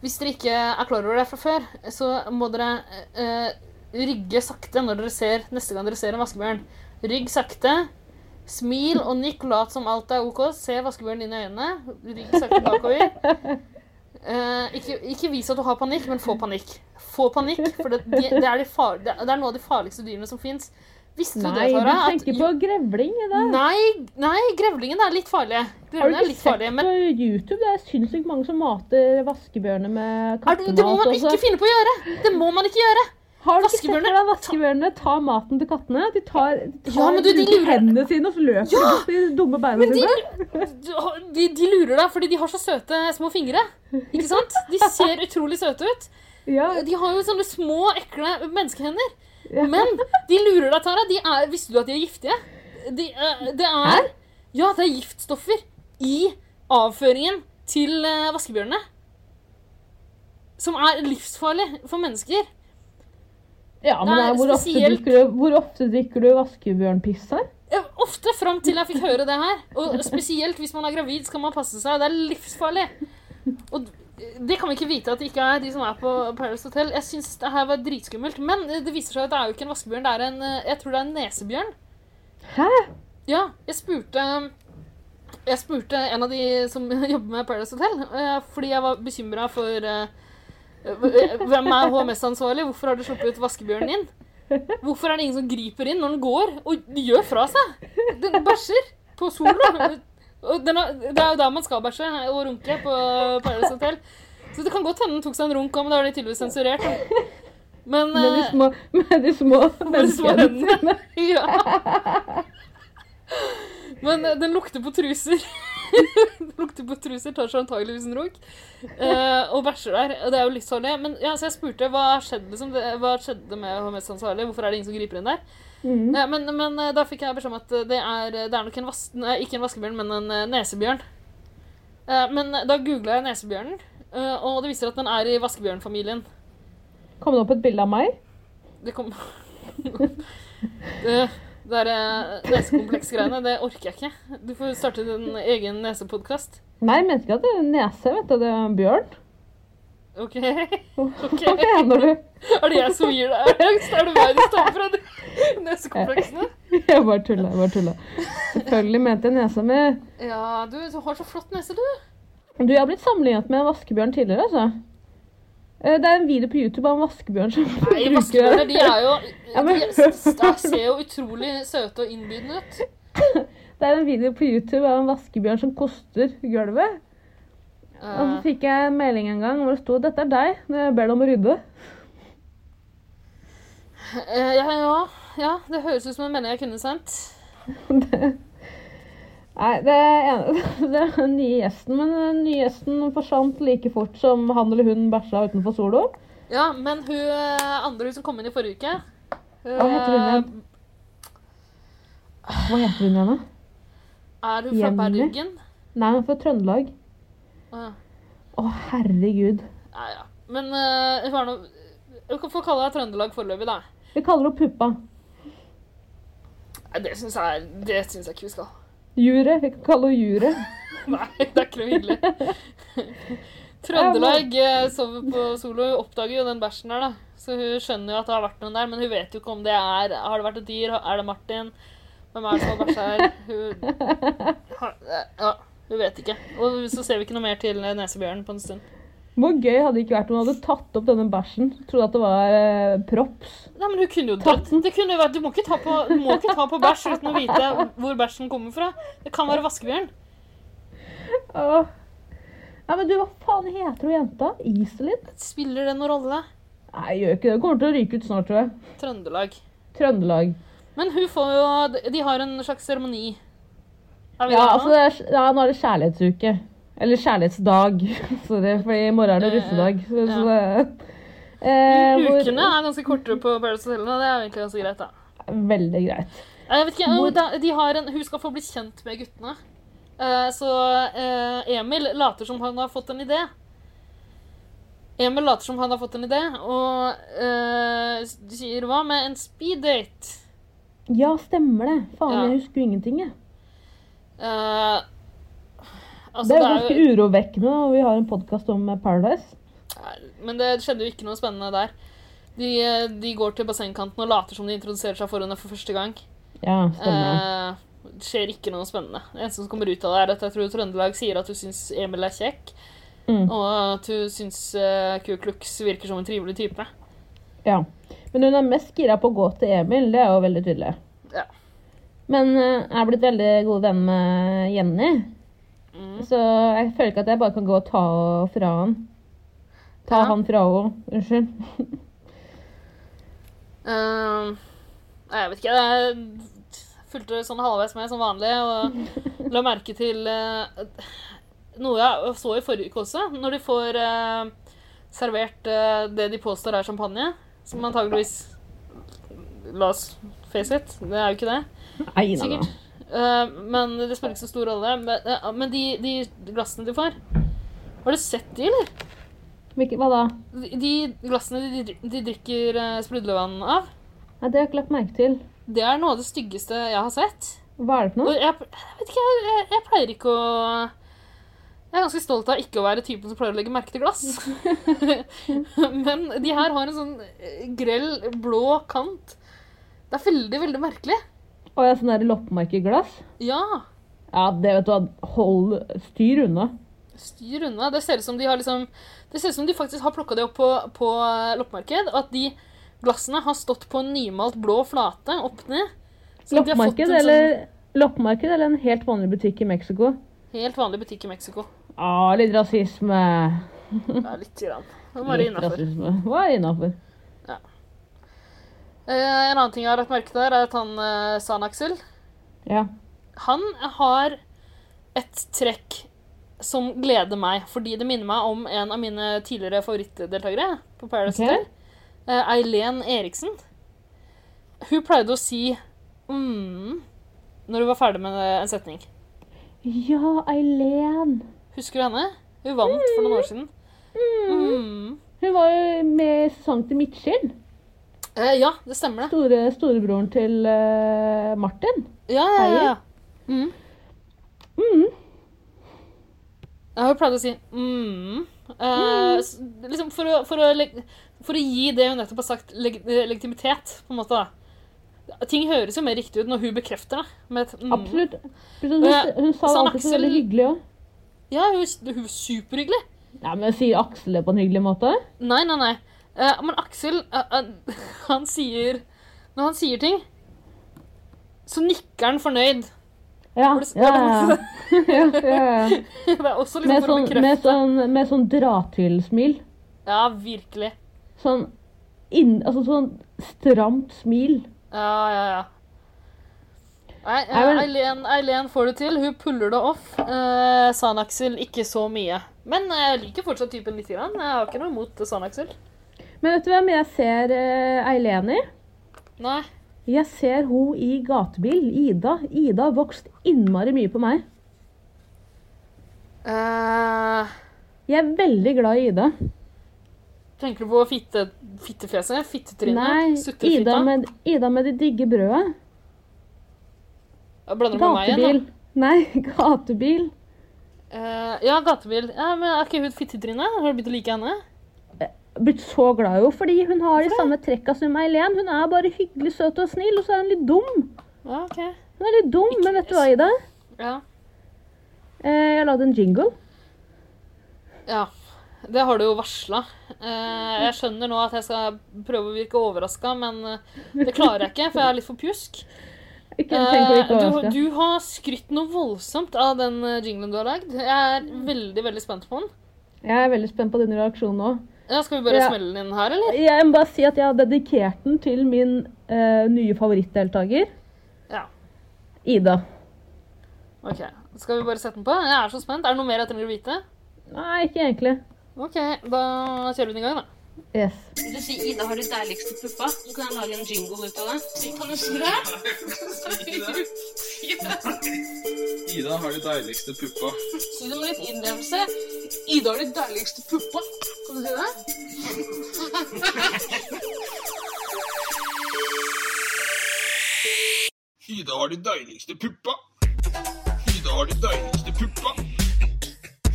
Hvis dere ikke er klar over det fra før, så må dere eh, rygge sakte når dere ser, neste gang dere ser en vaskebjørn. Rygg sakte. Smil og nikk, lat som alt er OK. Se vaskebjørnen inn i øynene. Rygg sakte bakover. Eh, ikke, ikke vis at du har panikk, men få panikk. Få panikk, for det, de, det, er de far, det er det er noe av de farligste dyrene som fins. Visste du
Nei,
det,
du
Tara? at-
tenker på grevling, Ida.
Nei, nei, grevlingene er litt farlige.
Har du
Grevlingene er
ikke
litt
sett
farlige, men
på YouTube? Det er sinnssykt mange som mater vaskebjørner med
er det, det må
kattemat.
man
også.
ikke finne på å gjøre! Det må man ikke gjøre!
Har du ikke sett
Vaskebjørnene-
hvordan vaskebjørnene tar maten til kattene? De tar, de tar
Ja, men du, de
bruker
lurer-
hendene sine, og så løper de opp i de dumme beina
Men
sine.
de, de, de lurer deg fordi de har så søte små fingre. Ikke sant? De ser utrolig søte ut.
Ja,
De har jo sånne små, ekle menneskehender.
Ja.
Men de lurer deg, Tara. De er, visste du at de er giftige? De, eh, det er Ja, det er giftstoffer i avføringen til eh, vaskebjørnene. Som er livsfarlig for mennesker.
ja men
Nei,
da, hvor, ofte
spesielt-
drikker du, hvor ofte drikker du vaskebjørnpiss her?
Eh, Ofte fram til jeg fikk høre det her. Og spesielt hvis man er gravid, skal man passe seg. Det er livsfarlig. Og Det kan vi ikke vite at det ikke er de som er på Paradise Hotel. Jeg syns det her var dritskummelt. Men det viser seg at det er jo ikke en vaskebjørn, det er en eh, Jeg tror det er en nesebjørn.
Hæ?
Ja, jeg spurte Jeg spurte en av de som jobber med Paradise Hotel, eh, fordi jeg var bekymra for eh, Hvem er HMS-ansvarlig? Hvorfor har du sluppet ut vaskebjørnen inn? Hvorfor er det ingen som griper inn når den går og gjør fra seg? Den bæsjer på sola. Og den er, det er jo der man skal bæsje og runke på Paradise Hotel. Så det kan godt hende den tok seg en runk òg, men da er det tydeligvis sensurert. Men,
Med de
eh,
små, med de små
med de små
menneskene
hendene.
sine.
ja. Men eh, den lukter på truser. den lukter på truser, tar seg antageligvis en runk. eh, og bæsjer der. Og det er jo livsfarlig. Men ja, så jeg spurte hva skjedde, liksom, det, hva skjedde med HMS-ansvarlig. Hvorfor er det ingen som griper inn der?
Mm.
Ja, men, men eh, da fikk jeg beskjed om at eh, det er, det er nok en vas nei, ikke en vaskebjørn, men en eh, nesebjørn. Eh, Men da googla jeg nesebjørnen, eh, og det viser at den er i vaskebjørnfamilien.
Kom det opp et bilde av meg?
Det kom Det, det der eh, nesekompleksgreiene, det orker jeg ikke. Du får starte din egen nesepodkast.
Nei, mennesker har ikke nese, vet du. Det er en bjørn.
OK?
Hva
ok.
mener du?
Er det jeg som gir deg angst? Er det meg du stammer fra? de Nesekompleksene?
Jeg bare tulla, jeg bare tulla. Selvfølgelig mente jeg nesa mi.
Ja, du, du har så flott nese, du.
Du, jeg har blitt sammenlignet med en vaskebjørn tidligere, altså. Eh, Det er en video på YouTube av en vaskebjørn som
Nei, vaskebjørner de er jo
Ja, men-
de er- s- da ser jo utrolig søte og innbydende ut.
Det er en video på YouTube av en vaskebjørn som koster gulvet. Og så
Eh,
fikk jeg en melding en gang hvor det sto 'Dette er deg, når jeg ber deg om å rydde'.
eh, ja, ja, ja, det høres ut som en melding jeg kunne sendt.
Nei, det er, en, det er den nye gjesten, men den nye gjesten forsvant like fort som han eller hun bæsja utenfor solo.
Ja, men hun eh, andre hun som kom inn i forrige uke
Hva heter hun igjen? Hva heter hun igjen, da?
eh, Er hun fra
Jenny?
Bergen?
Nei, hun er fra Trøndelag.
Uh,
Å, herregud.
ja, ja. Men eh, hun er nå Du kan få kalle deg Trøndelag foreløpig, da.
Vi kaller henne Puppa.
Nei, Det syns jeg, det synes jeg ikke vi skal.
Juret. Vi kan kalle henne Juret.
Nei, det er ikke noe hyggelig. Trøndelag eh, sover på solo. Hun oppdager jo den bæsjen der, da. Så hun skjønner jo at det har vært noen der, men hun vet jo ikke om det er Har det vært et dyr? Er det Martin? Hvem er det som har bæsja her? Hun har, ja, hun vet ikke. Og så ser vi ikke noe mer til nesebjørnen på en stund.
Hvor gøy hadde det ikke vært om hun hadde tatt opp denne bæsjen? Trodde at det var eh, props.
Nei, men hun kunne jo dødd. Det kunne jo vært, du må ikke ta på, du må ikke ta på bæsj uten å vite hvor bæsjen kommer fra. Det kan være vaskebjørn.
Åh. Nei, men du, hva faen heter hun jenta? Iselin?
Spiller det noen rolle?
Nei, gjør ikke det. Hun Kommer til å ryke ut snart, tror jeg.
Trøndelag.
Trøndelag.
Men hun får jo de- De har en slags seremoni. Er
Ja,
vi der nå?
altså, det er, ja, nå er det kjærlighetsuke. Eller kjærlighetsdag. Sorry, fordi i morgen er det russedag. Så, så, eh, hvor-
Ukene er ganske kortere på Paradise Hotel, og det er jo egentlig ganske greit, da.
Veldig greit.
Eh, Jeg vet ikke,
Hvor-
eh, da- de har en, Hun skal få bli kjent med guttene. Eh, Så eh, Emil later som han har fått en idé. Emil later som han har fått en idé, og eh, sier hva med en speeddate?
Ja, stemmer det. Faen,
Ja.
jeg husker jo ingenting, jeg.
Eh, altså,
det er jo ganske urovekkende når vi har en podkast om eh, Paradise.
Nei, Men det skjedde jo ikke noe spennende der. De, eh, de går til bassengkanten og later som de introduserer seg for henne for første gang.
Ja, stemmer.
Eh, det skjer ikke noe spennende. Det eneste som kommer ut av det, er at jeg tror Trøndelag sier at hun syns Emil er kjekk,
Mm,
og at hun syns eh, Ku Klux virker som en trivelig type.
ja. Men hun er mest gira på å gå til Emil, det er jo veldig tydelig.
Ja.
Men eh, jeg er blitt veldig god venn med Jenny.
Mm.
Så jeg føler ikke at jeg bare kan gå og ta henne fra han. Ta
Ja.
han fra henne. Unnskyld.
Eh, nei, jeg vet ikke. Jeg fulgte sånn halvveis med som vanlig og la merke til eh, noe jeg så i forrige uke også. Når de får eh, servert eh, det de påstår er champagne, som antageligvis La oss face it, det er jo ikke det.
Nei, nei, nei.
Sikkert. Eh, men det spiller ikke så stor rolle. Men, eh, men de, de glassene de får Har du sett de, eller?
Hvilke, hva da?
De, de glassene de, dri- de drikker eh, sprudlevann av,
Nei, det har jeg ikke lagt merke til.
det er noe av det styggeste jeg har sett.
Hva er det for
Og
noe?
jeg, jeg vet ikke, jeg, jeg, jeg pleier ikke å Jeg er ganske stolt av ikke å være typen som pleier å legge merke til glass. Men de her har en sånn eh, grell, blå kant. Det er veldig, veldig merkelig.
Og jeg har sånn der loppemarkedglass.
Ja,
Ja, det vet du hva. Hold styr unna.
styr unna. Det ser ut som de, har liksom, det ser ut som de faktisk har plukka det opp på, på eh, loppemarked. Og at de glassene har stått på en nymalt blå flate opp ned. Så de har fått en
Loppemarked
sånn
eller, loppemarked eller en helt vanlig butikk i Mexico?
Helt vanlig butikk i Mexico.
Ja, litt rasisme.
Ja, litt grann. Det var det
Litt
innafor.
rasisme. Hva er innafor?
Eh, en annen ting jeg har lagt merke til, der, er at han eh, San Axel
Ja.
Han har et trekk som gleder meg, fordi det minner meg om en av mine tidligere favorittdeltakere på Paradise
Ok.
Hotel. eh, Eileen Eriksen. Hun pleide å si mm når hun var ferdig med en setning.
Ja, Eileen.
Husker du henne? Hun vant for noen år siden. Mm.
Hun var jo med i sesong til Midtskill.
Eh, ja, det stemmer det.
Store, storebroren til eh, Martin.
Ja, ja, ja. ja. Mm.
Mm.
Ja, hun pleide å si mm. Eh, s- liksom for, å, for, å leg for å gi det hun nettopp har sagt, leg eh, legitimitet, på en måte. da. Ting høres jo mer riktig ut når hun bekrefter det. Med et mm.
Absolutt. Hun, hun, hun sa det
Sånn
alltid så
Aksel-
veldig hyggelig òg.
Ja, hun, hun er superhyggelig.
Ja, men sier Aksel det på en hyggelig måte?
Nei, nei, nei. Eh, men Aksel, eh, eh, han sier Når han sier ting, så nikker han fornøyd.
Ja.
Var det s-
ja,
var
ja, ja. ja, ja.
Det er også liksom
Med
for å
sånn,
bekrefte.
med sånn, med sånn dra-til-smil.
Ja, virkelig.
Sånn, inn- altså sånn stramt smil.
Ja, ja, ja. Nei, eh,
Nei, men-
Eileen, Eileen får det til. Hun puller det off. Eh, Sanaksel ikke så mye. Men eh, jeg liker fortsatt typen litt. Grann. Jeg har ikke noe imot Sanaksel.
Men vet du hvem jeg ser eh, Eileen i?
Nei.
Jeg ser hun i gatebil. Ida. Ida har vokst innmari mye på meg.
Eh,
Jeg er veldig glad i Ida.
tenker du på fitte, fittefjeset?
Nei,
Fittetrynet? Sutrefitta?
Ida med, Ida med det digge brødet.
Ja, Blander du med meg igjen?
Gatebil. Nei, gatebil.
da? Eh, ja, gatebil. Ja, men Er ikke hun fittetryne? Har du begynt å like henne?
Blitt så glad i henne fordi hun har de samme trekka som Eileen. Hun er bare hyggelig, søt og snill, og så er hun litt dum.
Ja, ok.
Hun er litt dum, men vet du hva, Ida?
Ja.
Eh, jeg lagde en jingle.
Ja, det har du jo varsla. Eh, jeg skjønner nå at jeg skal prøve å virke overraska, men eh, det klarer jeg ikke, for jeg er litt for pjusk.
Ikke tenk å
Eh,
ikke
du,
overraske.
du har skrytt noe voldsomt av den eh, jinglen du har lagd. Jeg er veldig veldig spent på den.
Jeg er veldig spent på din reaksjon nå.
Ja, skal vi bare
Ja.
smelle den inn her, eller?
Jeg må bare si at jeg har dedikert den til min eh, nye favorittdeltaker,
Ja.
Ida.
Ok, Skal vi bare sette den på? Jeg er så spent. Er det noe mer jeg trenger å vite?
Nei, ikke egentlig.
OK, da kjører vi den i gang, da.
Yes.
Vil du si Ida har de deiligste puppa? Så kan jeg lage en jingle ut av det. Kan du smøre?
Ida har de deiligste puppa.
Si det med litt innlevelse. Ida har de deiligste puppa. Kan du si det?
Ida har de deiligste puppa. Ida har de deiligste puppa.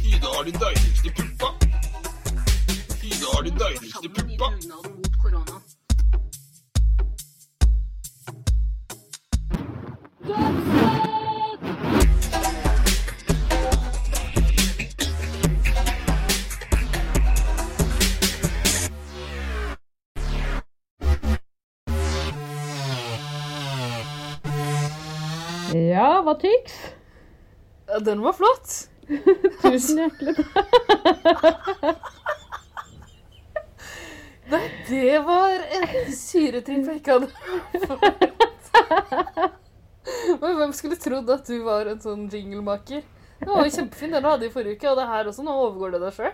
Ida har de deiligste puppa. Ida har de deiligste puppa.
Ja, hva tyks?
Ja, den var flott.
Tusen hjertelig takk.
Nei, det var en syretripp jeg ikke hadde Men hvem skulle trodd at du var en sånn jinglemaker? Det var jo kjempefin den du hadde i forrige uke, og det her også. Nå overgår det deg sjøl.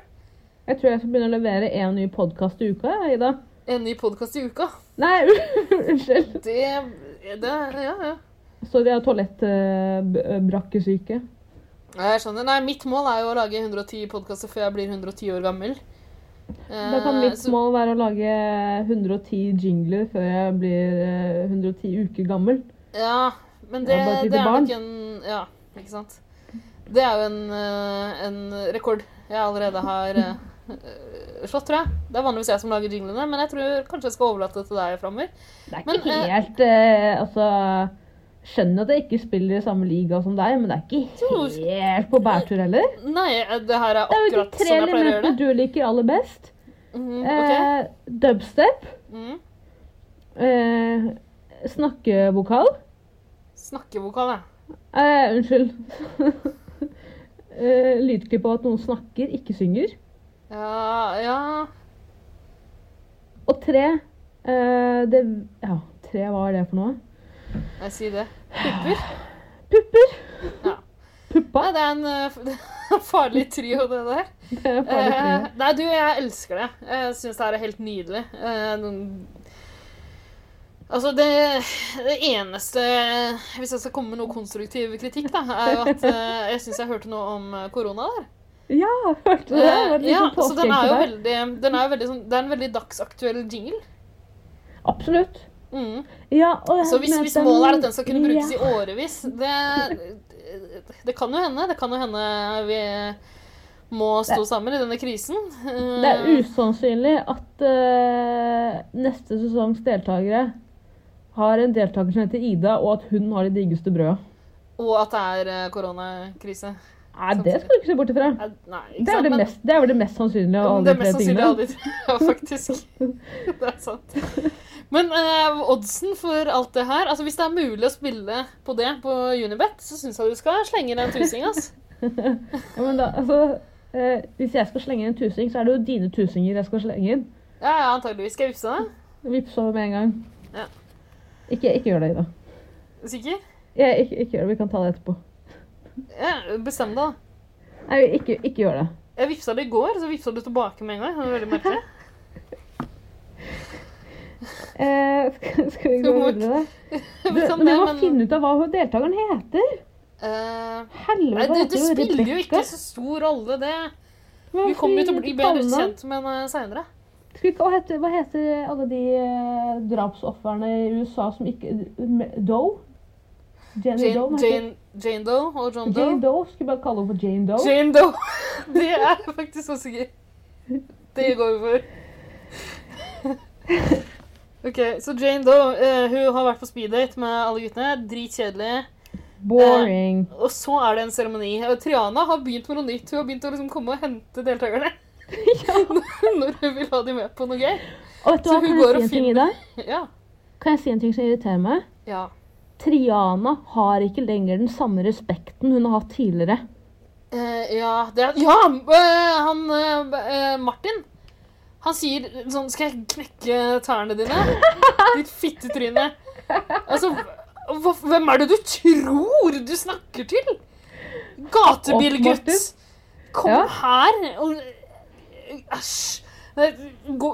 Jeg tror jeg skal begynne å levere én ny podkast i uka, jeg, Ida.
En ny podkast i uka.
Nei, unnskyld.
Det, det Ja, ja.
Sorry, jeg har
Eh,
toalettbrakkesyke.
Nei, Jeg skjønner. Nei, mitt mål er jo å lage 110 podkaster før jeg blir 110 år gammel.
Da kan
Eh,
sånn mitt
så-
mål være å lage 110 jingler før jeg blir eh, 110 uker gammel.
Ja, men
Ja, bare
det,
et lite
det er
barn.
nok en Ja, ikke sant. Det er jo en, eh, en rekord jeg allerede har eh, eh, slått, tror jeg. Det er vanligvis jeg som lager jinglene, men jeg tror kanskje jeg skal overlate det til deg framover.
Det er ikke
Men, eh,
helt eh, Altså Skjønner at jeg ikke spiller i samme liga som deg, men det er
Jo,
ikke helt på bærtur heller.
Nei, eh, det her er
Det er jo de
akkurat
tre
som jeg pleier å gjøre
elementene du
det.
liker aller best.
Mhm, ok.
Eh, dubstep,
Mhm.
eh, snakkevokal
Snakkevokal, ja.
eh, Unnskyld. eh, lydklipp av at noen snakker, ikke synger.
Ja, ja.
Og tre eh, det, Ja, tre, hva er det for noe?
Jeg sier det. Pupper.
Pupper!
Ja.
Puppa.
Nei, det er en eh, f- det er en farlig trio, det der.
Det er farlig for
Eh,
meg.
nei, du, jeg elsker det. Jeg syns det her er helt nydelig. Eh, noen- altså, det, det eneste Hvis jeg skal komme med noe konstruktiv kritikk, da, er jo at eh, jeg syns jeg hørte noe om eh, korona der.
Ja, hørte du det? det? var et
Eh, ja,
lite
så den er
påskeegg sånn
jo
der.
veldig, den er jo veldig sånn, Det er en veldig dagsaktuell jingle.
Absolutt.
Mm.
Ja, og jeg
Så hvis,
mener at
hvis målet er at den skal kunne
ja.
brukes i årevis det, det kan jo hende. Det kan jo hende vi må stå sammen i denne krisen. Eh,
Det er usannsynlig at eh, neste sesongs deltakere har en deltaker som heter Ida, og at hun har det diggeste brødet.
Og at det er eh, koronakrise.
Nei, det skal du ikke se bort ifra.
Eh, Nei,
Det er,
Sånn ikke sant,
vel det,
men-
mest, det er vel det mest sannsynlige av
men
alle
det er
tre
mest sannsynlig
tingene.
alle de tre, ja, faktisk. Det er sant. Men eh, oddsen for alt det her altså Hvis det er mulig å spille på det på Unibet, så syns jeg du skal slenge deg en tusing. ass.
Ja, men da, altså, eh, hvis jeg skal slenge inn en tusing, så er det jo dine tusinger jeg skal slenge inn.
Ja, ja, antageligvis. Skal jeg vippse deg?
Vips over med en gang.
Ja.
Ikke, ikke gjør det, Ida.
Sikker?
Jeg, ikke, ikke gjør det, Vi kan ta det etterpå.
Ja, Bestem deg, da.
Nei, ikke, ikke gjør det.
Jeg vippsa det i går, så vippsa du tilbake med en gang. Det var veldig merkelig.
Eh, skal, skal vi
Du
gå
må-
videre?
Jeg
Du,
vet ikke om
men vi
det,
må
men-
finne ut av hva hun deltakeren heter.
Eh, Nei,
Helvete, heter
det, det
hun
spiller jo
Rebecca?
ikke så stor rolle, det.
Men
Vi
hvorfor
kommer jo
gir
til å
hun
bli
ikke
bedre
kallenavn?
kjent med henne seinere.
Skal vi ikke, hva, heter, hva heter alle de eh, drapsofrene i USA som ikke me- Doe? Jenny Doe? hva heter
Jane,
hun?
Jane, Jane Doe og John Doe.
Jane Doe. Skal vi bare kalle henne for Jane Doe?
Jane Doe. Det er faktisk så sikkert. Det går vi for. OK, så Jane Doe eh, hun har vært på speeddate med alle guttene. Dritkjedelig.
Boring.
Og så er det en seremoni. Og Triana har begynt med noe nytt. Hun har begynt å liksom komme og hente deltakerne. Når hun vil ha dem med på noe gøy.
og vet du
så
hva,
hun
kan
går
jeg si
og
en ting i
finner-
dag?
Ja.
Kan jeg si en ting som irriterer meg?
ja.
Triana har ikke lenger den samme respekten hun har hatt tidligere.
Eh, ja, det er, ja eh, han eh, eh, Martin. Han sier sånn Skal jeg knekke tærne dine? Ditt fittetryne. Altså, hva, hvem er det du tror du snakker til?
Opp,
Gatebilgutt.
Martin.
Kom
Ja.
her og Æsj. Gå,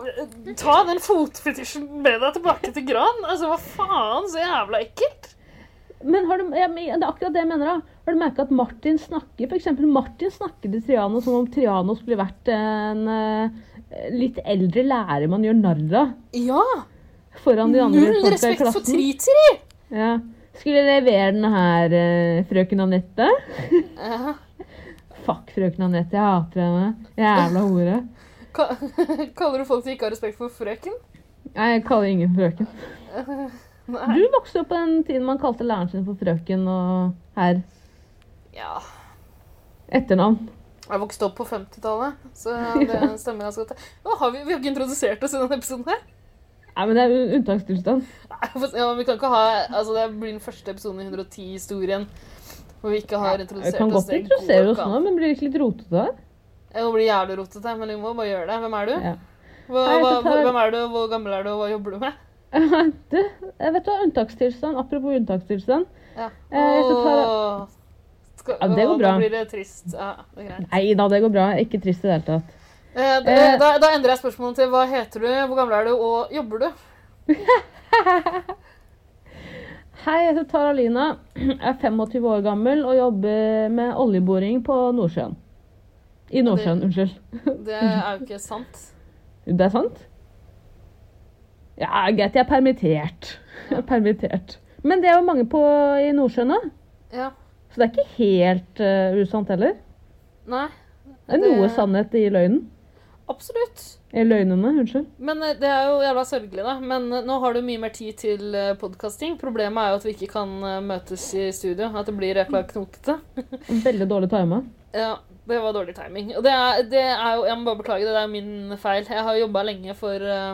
ta den fotfetisjen med deg tilbake til Gran. Altså, hva faen? Så jævla ekkelt.
Men har du, ja, men det er akkurat det jeg mener. da. Har du merka at Martin snakker for eksempel Martin snakker til Triano som om Triano skulle vært en eh, litt eldre lærer man gjør narr av
Ja.
foran de andre
Null
folka i
respekt for
klassen.
tritiri.
Ja. Skulle jeg levere den her, eh, frøken Anette?
Eh,
Fuck frøken Anette, jeg hater henne. Jævla hore.
Ka kaller du folk som ikke har respekt for frøken?
Nei, jeg kaller ingen frøken.
Nei.
Du vokste opp på den tiden man kalte læreren sin for frøken og herr.
Ja.
Etternavn.
Jeg vokste opp på 50-tallet, så det stemmer ganske godt. Å, har vi, vi har ikke introdusert oss i denne episoden her.
Nei, men det er jo unntakstilstand.
Nei, for- Ja, vi kan ikke ha, altså Det blir den første episoden i 110-historien hvor vi ikke har
Vi
introdusert
kan godt
Det
introdusere
går
oss
ikke
nå,
an.
men blir det ikke litt rotete her?
Det blir jævlig rotete, men vi må bare gjøre det. Hvem er du?
Ja.
Hva,
Hei,
hva,
jeg tar-
hvem er du? Hvor gammel er du? Hva jobber du med?
Du, jeg vet du hva, unntakstilstand, apropos unntakstilstand.
Ja.
Eh, jeg skal ta-
Åh. Skal,
Ja, det går bra.
Nå blir det trist. Ja, det er greit.
Nei da, det går bra. Ikke trist i det hele tatt.
Eh, da,
Eh.
da, da endrer jeg spørsmålet til hva heter du, hvor gammel er du, og jobber du?
Hei, jeg heter Tara Lina. Jeg er 25 år gammel og jobber med oljeboring på Nordsjøen. I Nordsjøen, unnskyld.
Det er jo ikke sant.
Det er sant? Ja, greit, jeg er permittert. Jeg er permittert. Men det er jo mange på i Nordsjøen nå.
Ja.
Så det er ikke helt eh, usant heller.
Nei.
Det er noe sannhet i løgnen.
Absolutt.
I løgnene, unnskyld.
Men eh, det er jo jævla sørgelig, da. Men eh, nå har du mye mer tid til eh, podcasting. Problemet er jo at vi ikke kan eh, møtes i studio. At det blir jækla knotete.
Veldig dårlig time.
Ja, det var dårlig timing. Og det er, det er jo Jeg må bare beklage, det det er min feil. Jeg har jobba lenge for eh,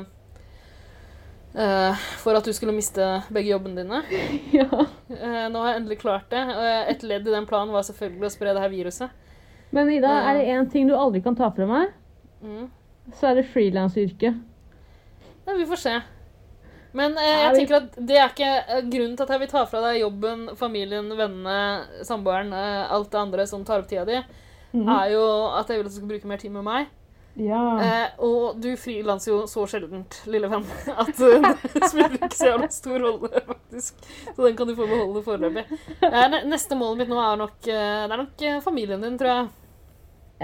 eh, For at du skulle miste begge jobbene dine.
Ja.
Eh, nå har jeg endelig klart det. Og eh, et ledd i den planen var selvfølgelig å spre det her viruset.
Men Ida, er det én ting du aldri kan ta fra meg,
Mm.
så er det frilansyrket.
Ja, vi får se. Men eh,
Ja,
jeg
vi-
tenker at det er ikke eh, grunnen til at jeg vil ta fra deg jobben, familien, vennene, samboeren, eh, alt det andre som tar opp tida di, er jo at jeg vil at du skal bruke mer tid med meg.
Mhm. Ja.
Eh, og du frilanser jo så sjeldent, lille venn, at eh, det spiller ikke så jævla stor rolle, faktisk. Så den kan du få beholde foreløpig. Eh, ne- neste målet mitt nå er nok, eh, det er nok eh, familien din, tror jeg.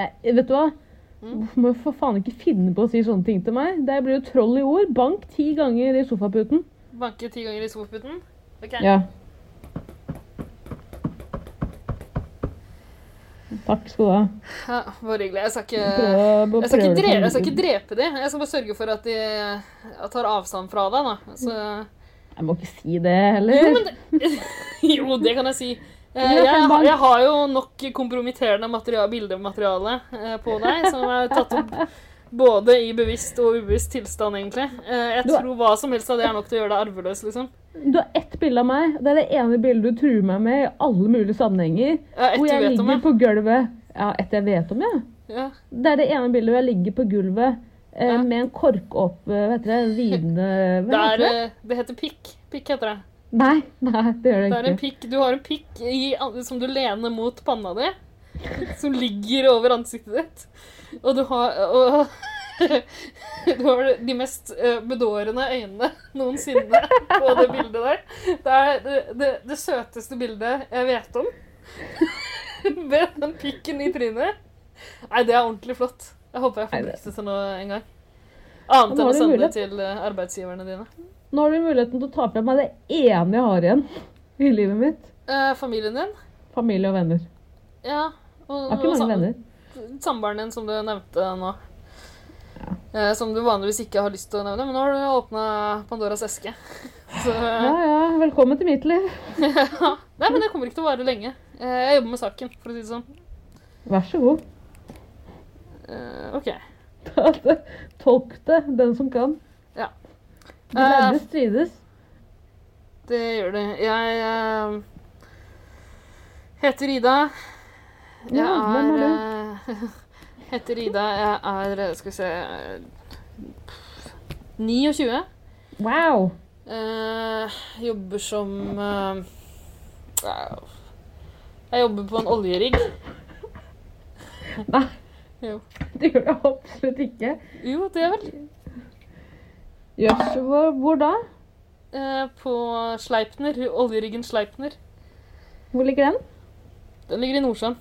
Eh, vet du hva?
Mm.
Hvorfor må du for faen ikke finne på å si sånne ting til meg? Det blir jo troll i ord. Bank ti ganger i sofaputen.
Banke ti ganger i sofaputen. Ok.
Ja. Takk skal du ha.
Ja, bare hyggelig. Jeg skal ikke
Prøv,
Eh, Jeg skal,
prøver
ikke drepe,
det
jeg skal ikke drepe de. Jeg skal bare sørge for at de jeg tar avstand fra deg, da. Så,
Jeg må ikke si det heller.
jo, men det, Jo, det kan jeg si. Eh,
Ja,
Jeg,
men-
jeg har jo nok kompromitterende materia- bildemateriale eh, på deg, som er tatt opp både i bevisst og ubevisst tilstand, egentlig. Eh, Jeg
Du er-
tror hva som helst av det er nok til å gjøre deg arveløs, liksom.
Du har ett bilde av meg. Det er det ene bildet du truer meg med i alle mulige sammenhenger.
Ja, Et
Hvor
du
jeg
vet om,
ligger
jeg.
på gulvet. Ja, et jeg vet om, ja.
Ja.
Det er det ene bildet hvor jeg ligger på gulvet eh,
Ja.
med en kork opp eh, Hva heter det? Vidende
Det,
Hva heter
er,
det?
eh, det heter pikk. Pikk heter det.
Nei, nei, det gjør
Det
det
er en
ikke.
pikk, du har en pikk i, som du lener mot panna di, som ligger over ansiktet ditt. Og du har, og, du har de mest eh, bedårende øynene noensinne på det bildet der. Det er det, det, det søteste bildet jeg vet om. Med den pikken i trynet. Nei, det er ordentlig flott. Jeg håper jeg
Nei,
får
det-
vise til noe en gang.
Nå
Annet enn
har
å
du
sende det
mulighet.
til eh, arbeidsgiverne dine.
Nå har du muligheten til å ta fra meg det ene jeg har igjen i livet mitt.
Eh, familien din?
Familie og venner.
Ja. Og,
Jeg har ikke
og sam-
mange venner.
samboeren din som du nevnte nå. Eh, Som du vanligvis ikke har lyst til å nevne, men nå har du åpna Pandoras eske. Så,
Ja, ja, velkommen til mitt liv.
nei, men det kommer ikke til å vare lenge. Eh, Jeg jobber med saken, for å si det sånn.
Vær så god.
Eh, OK.
Ta det. Tolk det, den som kan.
Ja.
De lærde strides.
Eh, Det gjør det. Jeg eh, heter Ida. Jeg
Ja, hvem er
er eh, Heter Ida. Jeg er eh, Skal vi se eh, 29.
Wow.
Eh, jobber som eh, ja, Jeg jobber på en oljerigg.
Nei.
Jo.
Det gjør det absolutt ikke.
Jo, det er vel.
Jøss, hvor, hvor da?
Eh, på Sleipner. Oljeriggen Sleipner.
Hvor ligger den?
Den ligger i Nordsjøen.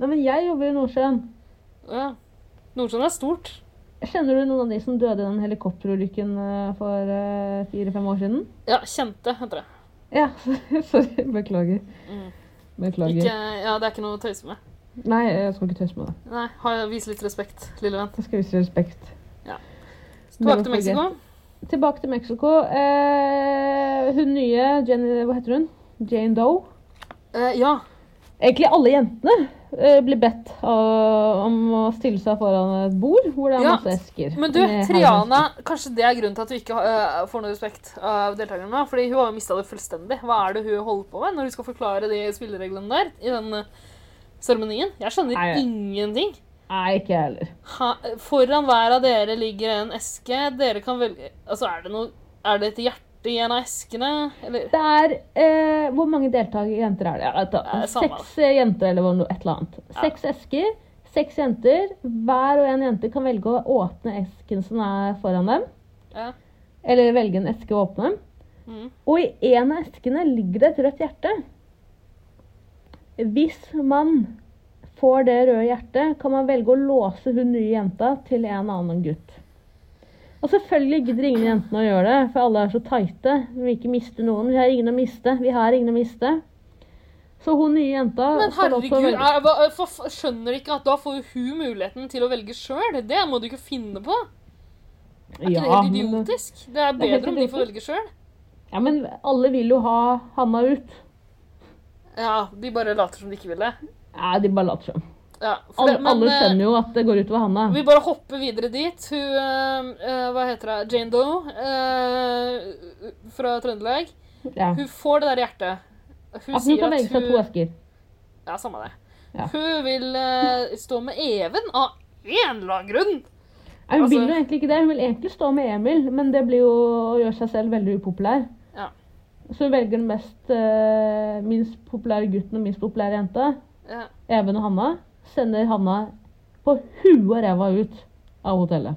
Nei, men jeg jobber i Nordsjøen.
Ja. Nordsjøen er stort.
Kjenner du noen av de som døde i den helikopterulykken eh, for eh, fire-fem år siden?
Ja, kjente, heter det.
Ja, sorry. Beklager.
Mm.
Beklager.
Ikke, ja, det er ikke noe å tøyse med.
Nei, jeg skal ikke tøyse med det.
Nei, ha- Vis litt respekt, lille venn.
Jeg skal vise respekt.
Ja.
Never
Tilbake til Mexico.
forget. Tilbake til Mexico. Eh, hun nye Jenny, Hva heter hun? Jane Doe.
Eh, ja.
Egentlig alle jentene eh, blir bedt av, om å stille seg foran et bord hvor det er
Ja,
masse esker.
Men du,
med
Triana, kanskje det er grunnen til at du ikke øh, får noe respekt av deltakerne nå? Fordi hun har jo mista det fullstendig. Hva er det hun holder på med når hun skal forklare de spillereglene der? I den øh, seremonien? Jeg skjønner
Nei.
ingenting.
handlesker. Nei, ikke jeg heller.
Ha, foran hver av dere ligger en eske. Dere kan velge Altså, er det noe Er det et hjerte i en av eskene? Eller
Det er eh, Hvor mange deltakere jenter er det? Ja, vet du,
Eh, samme.
seks eh, jenter eller noe, et eller annet. Seks esker, seks jenter. Hver og en jente kan velge å åpne esken som er foran dem.
Ja.
Eller velge en eske å åpne.
Mm.
Og i en av eskene ligger det et rødt hjerte. Hvis man får det røde hjertet, kan man velge å låse hun nye jenta til en annen gutt. Og selvfølgelig gidder ingen jentene å gjøre det, for alle er så tighte. Vi vil ikke miste noen. Vi har ingen å miste. Vi har ingen å miste. Så hun nye jenta
Men
får lov til å
herregud,
velge.
er, hva- øh, for, f- skjønner du ikke at da får jo hun muligheten til å velge sjøl? Det må du ikke finne på. Er ikke det
Ja,
helt
men, øh,
idiotisk? Det er
er helt
bedre om de får
idiotisk.
velge sjøl.
ja, men alle vil jo ha Hanna ut.
Ja, de bare later som de ikke vil det.
Nei, de bare later som.
Ja, for
Alle,
det- men,
alle
eh,
skjønner jo at det går utover Hanna.
Vi bare hopper videre dit. Hun eh, eh, Hva heter hun? Jane Doe eh, fra Trøndelag.
Ja.
Hun får det der hjertet. Hun
At Altså, hun kan velge seg to esker.
Ja, samme det.
Ja.
Hun vil eh, stå med Even av en eller annen grunn.
Nei, hun
Altså-
vil jo egentlig ikke det. Hun vil egentlig stå med Emil, men det blir jo å gjøre seg selv veldig upopulær.
Ja.
Så hun velger den mest, eh, minst populære gutten og minst populære jenta.
Ja.
Even og Hanna. Sender Hanna på huet og ræva ut av hotellet.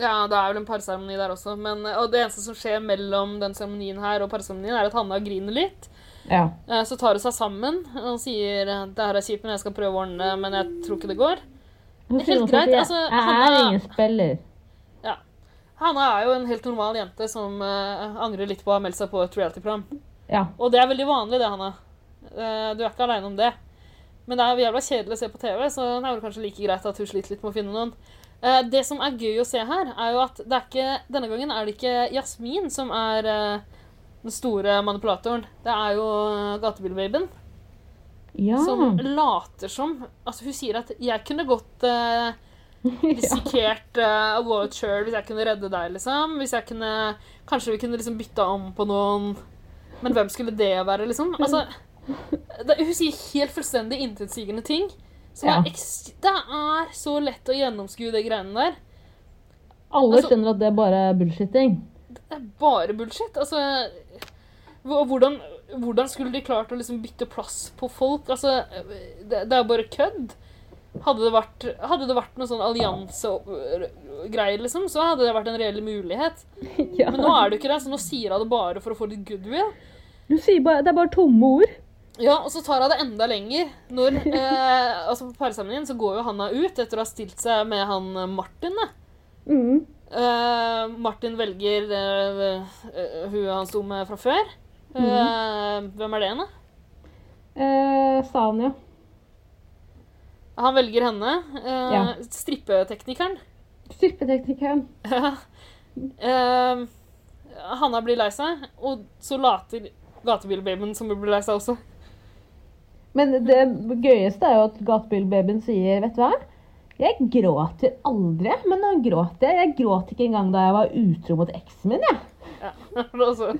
Ja, det er vel en parseremoni der også. Men, eh, og det eneste som skjer mellom den seremonien her og parseremonien, er at Hanna griner litt.
Ja.
Eh, Så tar hun seg sammen og sier at det her er kjipt, men jeg skal prøve å ordne det, men jeg tror ikke det går.
Hun
Helt
sier også at
greit,
jeg,
altså,
jeg er
Hanna-
ingen spiller.
Ja. Hanna er jo en helt normal jente som eh, angrer litt på å ha meldt seg på et reality-program.
Ja.
Og det er veldig vanlig, det, Hanna. Eh, du er ikke aleine om det. Men det er jo jævla kjedelig å se på TV, så det er vel kanskje like greit at hun sliter litt med å finne noen. Eh, det som er gøy å se her, er jo at det er ikke, denne gangen er det ikke Jasmin som er eh, den store manipulatoren. Det er jo eh, gatebilbabyen
Ja.
som later som Altså, hun sier at 'jeg kunne godt eh, risikert eh, å gå ut sjøl hvis jeg kunne redde deg', liksom. Hvis jeg kunne Kanskje vi kunne liksom bytta om på noen Men hvem skulle det være, liksom? Altså det, Hun sier helt fullstendig intetsigende ting. Som
Ja.
er eks det er så lett å gjennomskue de greiene der.
Alle
altså-
skjønner at det bare er bullshitting.
Det er bare bullshit. Altså hvor- hvordan, hvordan skulle de klart å liksom bytte plass på folk? Altså, det, det er jo bare kødd. Hadde det vært, hadde det vært noen sånn alliansegreier, liksom, så hadde det vært en reell mulighet.
Ja.
Men nå er det jo ikke det, så nå sier hun det bare for å få litt goodwill.
Hun sier bare, det er bare tomme ord.
Ja, og så tar hun det enda lenger. Når, eh, altså på parseremonien så går jo Hanna ut etter å ha stilt seg med han eh, Martin. Da.
Mm.
Eh, Martin velger eh, eh, hun han sto med fra før. Eh, Hvem er det, da?
Eh, Sanja.
Han velger henne. Eh,
Ja.
Strippeteknikeren.
Strippeteknikeren.
Eh, Hanna blir lei seg, og så later gatebilbabyen som hun blir lei seg også.
Men det gøyeste er jo at gatebilbabyen sier, vet du hva? Jeg gråter aldri, men nå gråter jeg. Jeg gråt ikke engang da jeg var utro mot eksen min, jeg.
Og så-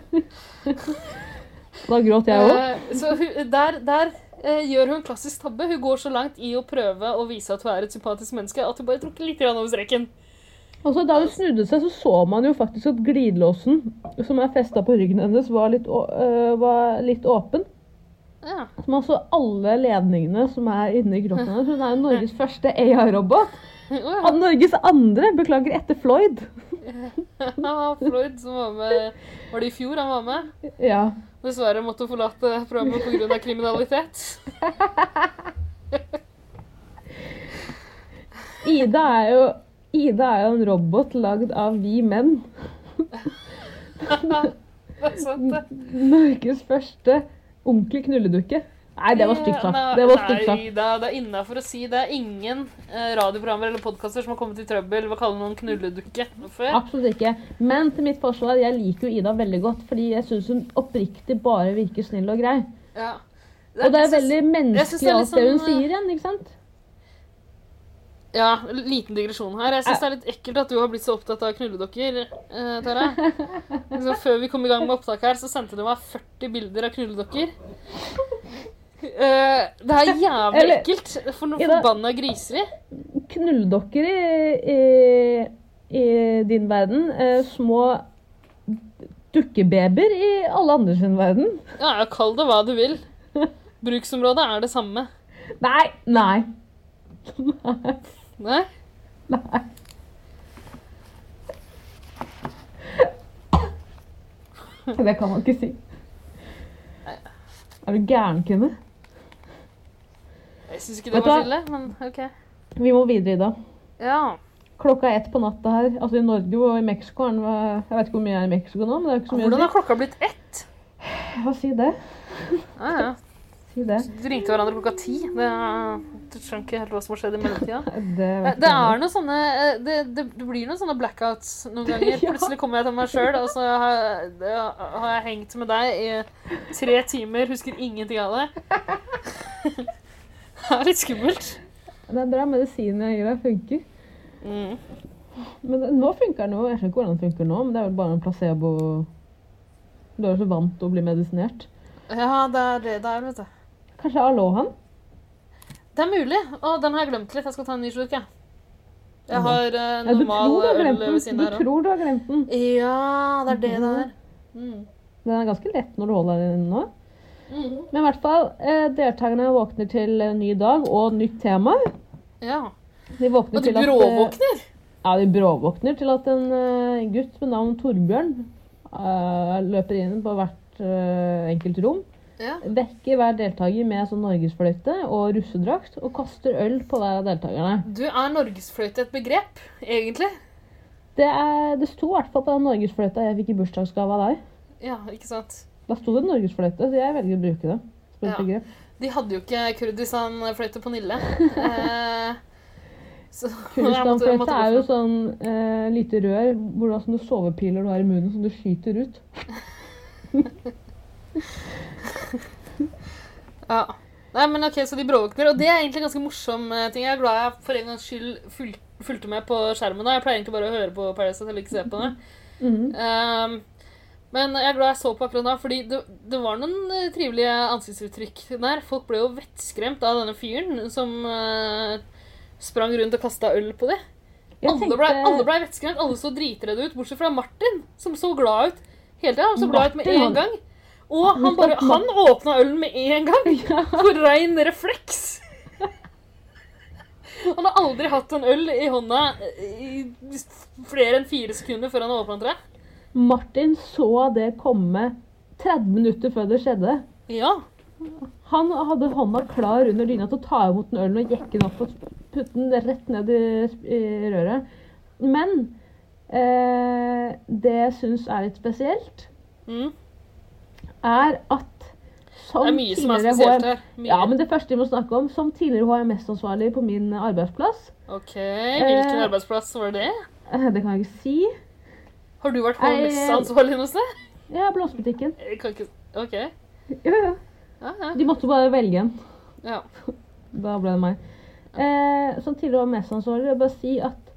Da gråt jeg òg.
Eh, så hun, der, der eh, gjør hun en klassisk tabbe. Hun går så langt i å prøve å vise at hun er et sympatisk menneske, at hun bare tråkker litt grann over streken.
Og så da hun snudde seg, så så man jo faktisk at glidelåsen som er festa på ryggen hennes, var litt, å- øh, var litt åpen.
Ja.
Så man så alle ledningene som er inni kroppen hennes. Hun er jo Norges første AI-robot.
Å,
Og Norges andre, beklager, etter Floyd.
ja, Floyd som var med Var det i fjor han var med?
Ja.
Dessverre måtte hun forlate programmet pga. kriminalitet.
Ida er jo Ida er jo en robot lagd av vi menn.
Det er sant, det.
Norges første onkel knulledukke. Nei, det var stygt sagt.
Nei,
Det var stygt sagt.
Nei, da, det er innafor å si. Det er ingen eh, radioprogrammer eller podkaster som har kommet i trøbbel ved å kalle noen knulledukke før.
Absolutt ikke. Men til mitt forsvar, jeg liker jo Ida veldig godt, fordi jeg syns hun oppriktig bare virker snill og grei.
Ja.
Og det er
jeg synes-
veldig
jeg synes det
menneskelig
er litt
alt det hun
sånn,
sier igjen, ikke sant?
Ja, liten digresjon her. Jeg syns det er litt ekkelt at du har blitt så opptatt av knulledokker, eh, Tara. Liksom, før vi kom i gang med opptaket her, så sendte du meg 40 bilder av knulledokker. Eh, det er jævlig
Eller-
ekkelt. For noe
Ida-
forbanna griseri.
Knulledokker i, i, i din verden. Eh, små dukkebabyer i alle andre sin verden.
Ja, ja, kall det hva du vil. Bruksområdet er det samme.
Nei! Nei.
Nei?
Det kan man ikke si. Er du gæren, kvinne?
Jeg syns ikke det
Vet du
var
hva?
så ille, men OK.
Vi må videre, Ida.
Ja.
Klokka er ett på natta her. Altså I Norge og i Mexico er den eh, Jeg vet ikke hvor mye jeg er i Mexico nå, men det er jo ikke så mye
Hvordan
å
har klokka blitt ett?
si. Hva si det?
Ja, ja.
Si det.
Drinka hverandre klokka ti. Det, du skjønner ikke helt hva som har skjedd i mellomtida.
Det,
Eh,
vet
Det
jeg.
er noen sånne eh, Det, det, det blir noen sånne blackouts noen ganger.
Ja.
Plutselig kommer jeg til meg sjøl, og så har, det- har jeg hengt med deg i tre timer, husker ingenting av det. Det er litt skummelt.
det er bra medisin jeg gir deg, funker.
Mm.
Men det- nå funker den jo. Jeg skjønner ikke hvordan den funker nå, men det er vel bare en placebo Du er jo så vant til å bli medisinert.
Ja, det er det det er, vet du.
Kanskje Alohan?
Det er mulig. Å, den har jeg glemt litt. Jeg skal ta en ny slurk, jeg. Jeg har eh,
Ja, du
normal
tror du har
øl
glemt
ved
den.
siden
Du
her òg.
tror du har glemt den.
Ja, det er det det er. Mm.
Den er ganske lett når du holder den inne nå.
Mm.
Men i hvert fall, eh, deltakerne våkner til en ny dag og nytt tema.
Ja.
De våkner
Og du
til at, eh,
bråvåkner?
Ja, de bråvåkner til at en eh, gutt med navn Torbjørn eh, løper inn på hvert eh, enkelt rom.
Ja.
Vekker hver deltaker med sånn norgesfløyte og russedrakt og kaster øl på hver av deltakerne.
Du er norgesfløyte et begrep, egentlig?
Det, er, det sto i hvert fall på den norgesfløyta jeg fikk i bursdagsgave av deg.
Ja, ikke sant?
Da sto det norgesfløyte, så jeg velger å bruke det. som et
Ja.
begrep.
De hadde jo ikke Kurdistan-fløyte på Nille. Eh, så jeg måtte- jeg måtte
Kurdistan-fløyte
gå
er jo
for-
sånn eh, lite rør hvor du har sånne sovepiler du har i munnen som du skyter ut.
ja. Nei, men ok, Så de bråvåkner. Og det er egentlig en ganske morsom eh, ting. Jeg er glad jeg for en gangs skyld ful fulgte med på skjermen. da. Jeg pleier egentlig bare å høre på Paradise Hotel eller ikke se på det.
Mhm.
Ehm, men jeg er glad jeg så på akkurat da, fordi det, det var noen eh, trivelige ansiktsuttrykk der. Folk ble jo vettskremt av denne fyren som eh, sprang rundt og kasta øl på dem.
Jeg
Alle ble, alle ble vettskremt, alle så dritredde ut, bortsett fra Martin, som så glad ut hele tida. Han så glad ut med
Martin,
en
han-
gang. Og han, bare, han åpna ølen med en gang!
Ja.
På rein refleks. Han har aldri hatt en øl i hånda eh, i flere enn fire sekunder før han åpna tre.
Martin så det komme 30 minutter før det skjedde.
Ja.
Han hadde hånda klar under dyna til å ta imot den ølen og jekke den opp og putte den rett ned i, i røret. Men eh, det jeg syns er litt spesielt,
Mm.
er at som
Det er mye som er
tidligere
spesielt
HM
her. Mye.
ja, men det første vi må snakke om, som tidligere HMS-ansvarlig på min arbeidsplass
OK, hvilken
Eh,
arbeidsplass var det?
eh, Det kan jeg ikke si.
Har du vært
nei, Eh,
HMS-ansvarlig noe sted?
Ja, blomsterbutikken.
Jeg kan ikke OK.
Jo, jo.
Ja, ja.
De måtte bare velge en.
ja.
Da ble det meg. Eh, som tidligere var mest ansvarlig, vil jeg bare si at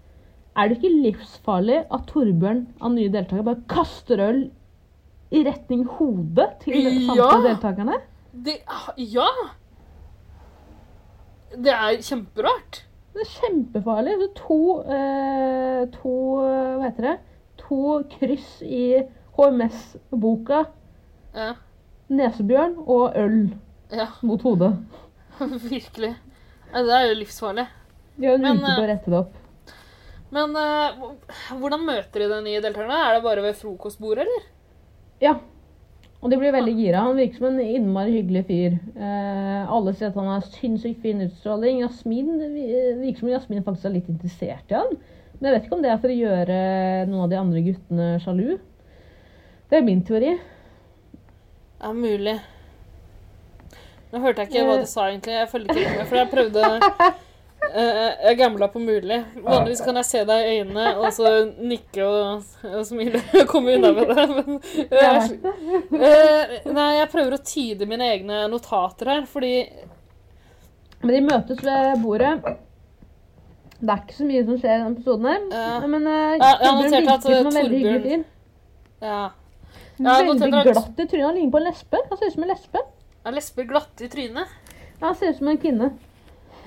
er det ikke livsfarlig at Torbjørn av nye deltakere bare kaster øl i retning hodet til
Ja!
samtlige deltakerne?
Det, ah, ja! Det er kjemperart.
Det er kjempefarlig. Så to, eh, to eh, Hva heter det? To kryss i HMS-boka
Ja.
Nesebjørn og øl
ja.
mot hodet.
Virkelig. Nei, Det er jo livsfarlig.
De har en
Men, eh,
uke på å rette det opp.
Men eh, hvor- hvordan møter de de nye deltakerne? Er det bare ved frokostbordet, eller?
Ja. Og de blir veldig gira. Han virker som en innmari hyggelig fyr. Eh, alle sier at han har sinnssykt fin utstråling. Jasmin det vi- eh, virker som Jasmin faktisk er litt interessert i han. Men jeg vet ikke om det er for å gjøre noen av de andre guttene sjalu. Det er min teori.
Det er mulig. Nå hørte jeg ikke hva du sa, egentlig. Jeg følger ikke helt med, for jeg prøvde eh, Jeg gambla på mulig. Vanligvis kan jeg se deg i øynene og så nikke og, og smile og komme unna med det. Men,
Jeg
eh,
vet det.
eh, nei, jeg prøver å tyde mine egne notater her, fordi
Men de møtes ved bordet. Det er ikke så mye som skjer i denne episoden her.
Ja.
Men eh,
Ja, jeg
Torbjørn
noterte
virker
at,
som
eh,
en veldig
Torbjørn-
hyggelig fyr.
Ja. Ja, jeg
Veldig
noterte at-
glatt i trynet. Han ligner på en lesbe. Han ser ut som en lesbe.
Er lesber glatte i trynet?
Ja, han ser ut som en kvinne.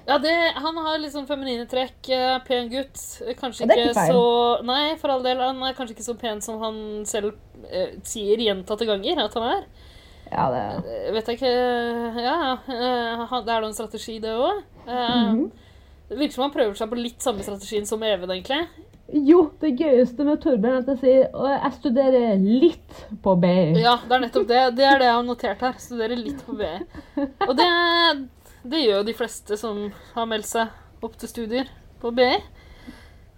Ja, det, han har litt sånn feminine trekk. eh, Pen gutt. Eh, Kanskje
Ja, det er
ikke
ikke feil.
så Nei, for all del. Han er kanskje ikke så pen som han selv eh, sier gjentatte ganger at han er.
Ja, det
Eh, Vet jeg ikke Ja, eh, han- det er da en strategi, det òg.
Mhm.
Det virker som han prøver seg på litt samme strategien som Even, egentlig.
Jo, det gøyeste med Torbjørn er at jeg sier «Å, jeg studerer litt på B. E
Ja, det er nettopp det. Det er det jeg har notert her. Studerer litt på BI. Og det, det gjør jo de fleste som har meldt seg opp til studier på BI.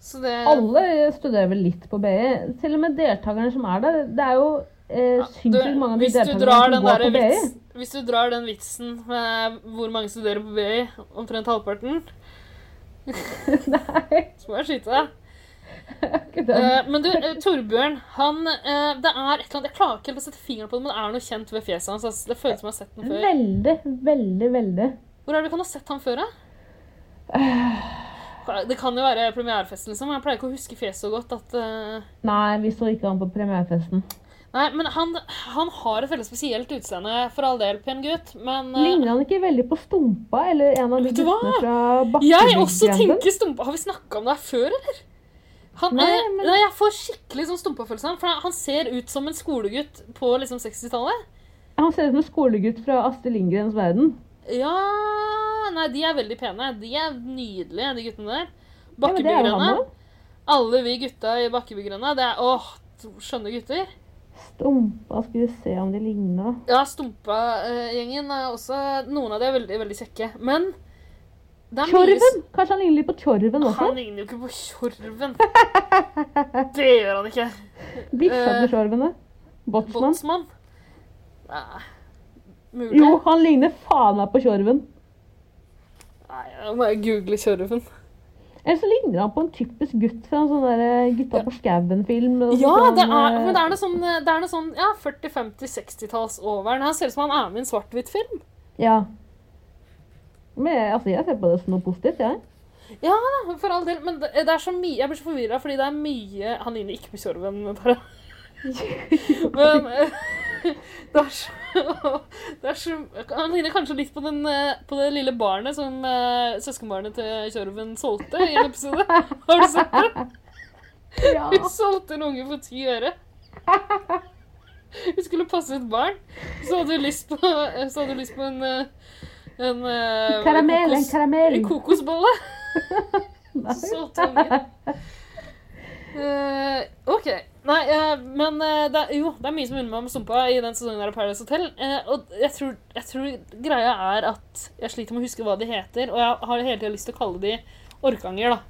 Så det
E Alle studerer vel litt på BI. Til og med deltakerne som er der. Det er jo eh, syns jo mange av de
hvis, du
deltakerne
drar
som
den
går
derre
på E BI.
vits, hvis du drar den vitsen med hvor mange studerer på BI, omtrent halvparten,
Nei,
så må jeg skyte deg.
ikke den.
Eh, men du, eh, Torbjørn, han eh, Det er et eller annet Jeg klarer ikke helt å sette fingeren på det, men det er noe kjent ved fjeset hans. Altså. Det føles som jeg har sett den før.
Veldig, veldig, veldig.
Hvor er det vi kan ha sett han før, da? Det kan jo være premierefesten, liksom. men Jeg pleier ikke å huske fjeset så godt at eh,
Nei, vi så ikke han på premierefesten.
Nei, men han, han har et veldig spesielt utseende, for all del, pen gutt, men eh,
Ligner han ikke veldig på Stumpa eller en av de
Vet du hva?
guttene fra
Jeg også
Bakkebyggrensen?
tenker stumpa. Har vi snakka om det her før, eller? Han,
Nei,
nei,
men-
nei, jeg får skikkelig sånn stumpa-følelse. av ham, For han ser ut som en skolegutt på liksom 60-tallet.
Han ser ut som en skolegutt fra Astrid Lindgrens verden.
Ja Nei, de er veldig pene. De er nydelige, de guttene der.
Ja, men det er jo
Bakkebygrønne.
han da.
Alle vi gutta i Bakkebygrønne. Det er åh, to skjønne gutter.
Stumpa, skal vi se om de ligner.
Ja, Stumpa-gjengen er også Noen av de er veldig, veldig kjekke. Men det er mye
Tjorven! Kanskje han ligner litt på Tjorven også?
Han ligner jo ikke på Tjorven. Det gjør han ikke.
Bikkja
Eh,
til Tjorven, det. Botsmann.
Båtsmann? Nei. Ah, Mulig?
Jo, han ligner faen meg på Tjorven.
Nei, jeg må google kjørefen.
Eller så ligner han på en typisk gutt fra en sånn der Gutta på skauen-film. og
Ja,
sånn,
det er,
eh,
men det er noe sånn, det er noe sånn ja, 40-, 50-, 60-talls over. Han ser ut som han er med i en svart-hvitt-film.
Ja. Men jeg- altså, jeg ser på det som noe positivt, jeg.
Ja da, for all del. Men det, det er så mye Jeg blir så forvirra fordi det er mye Han ligner ikke på Kjørven, bare. Men eh, det er så, det er så Han ligner kanskje litt på, den, eh, på det lille barnet som eh, søskenbarnet til Kjørven solgte i en episode. Har du sett det?
Ja.
Hun solgte en unge for ti øre. Hun skulle passe et barn. Så hadde hun lyst på, så hadde hun lyst på en, eh, en eh,
Karamell, en
kokos-
karamell.
En kokosbolle.
Nei.
Så solgte ungen. Eh, OK. Nei, eh, men eh, det er, jo, det er mye som minner meg om Sumpa i den sesongen der av Paradise Hotel. Eh, og jeg tror, jeg tror greia er at jeg sliter med å huske hva de heter, og jeg har hele tida lyst til å kalle de orkanger, da.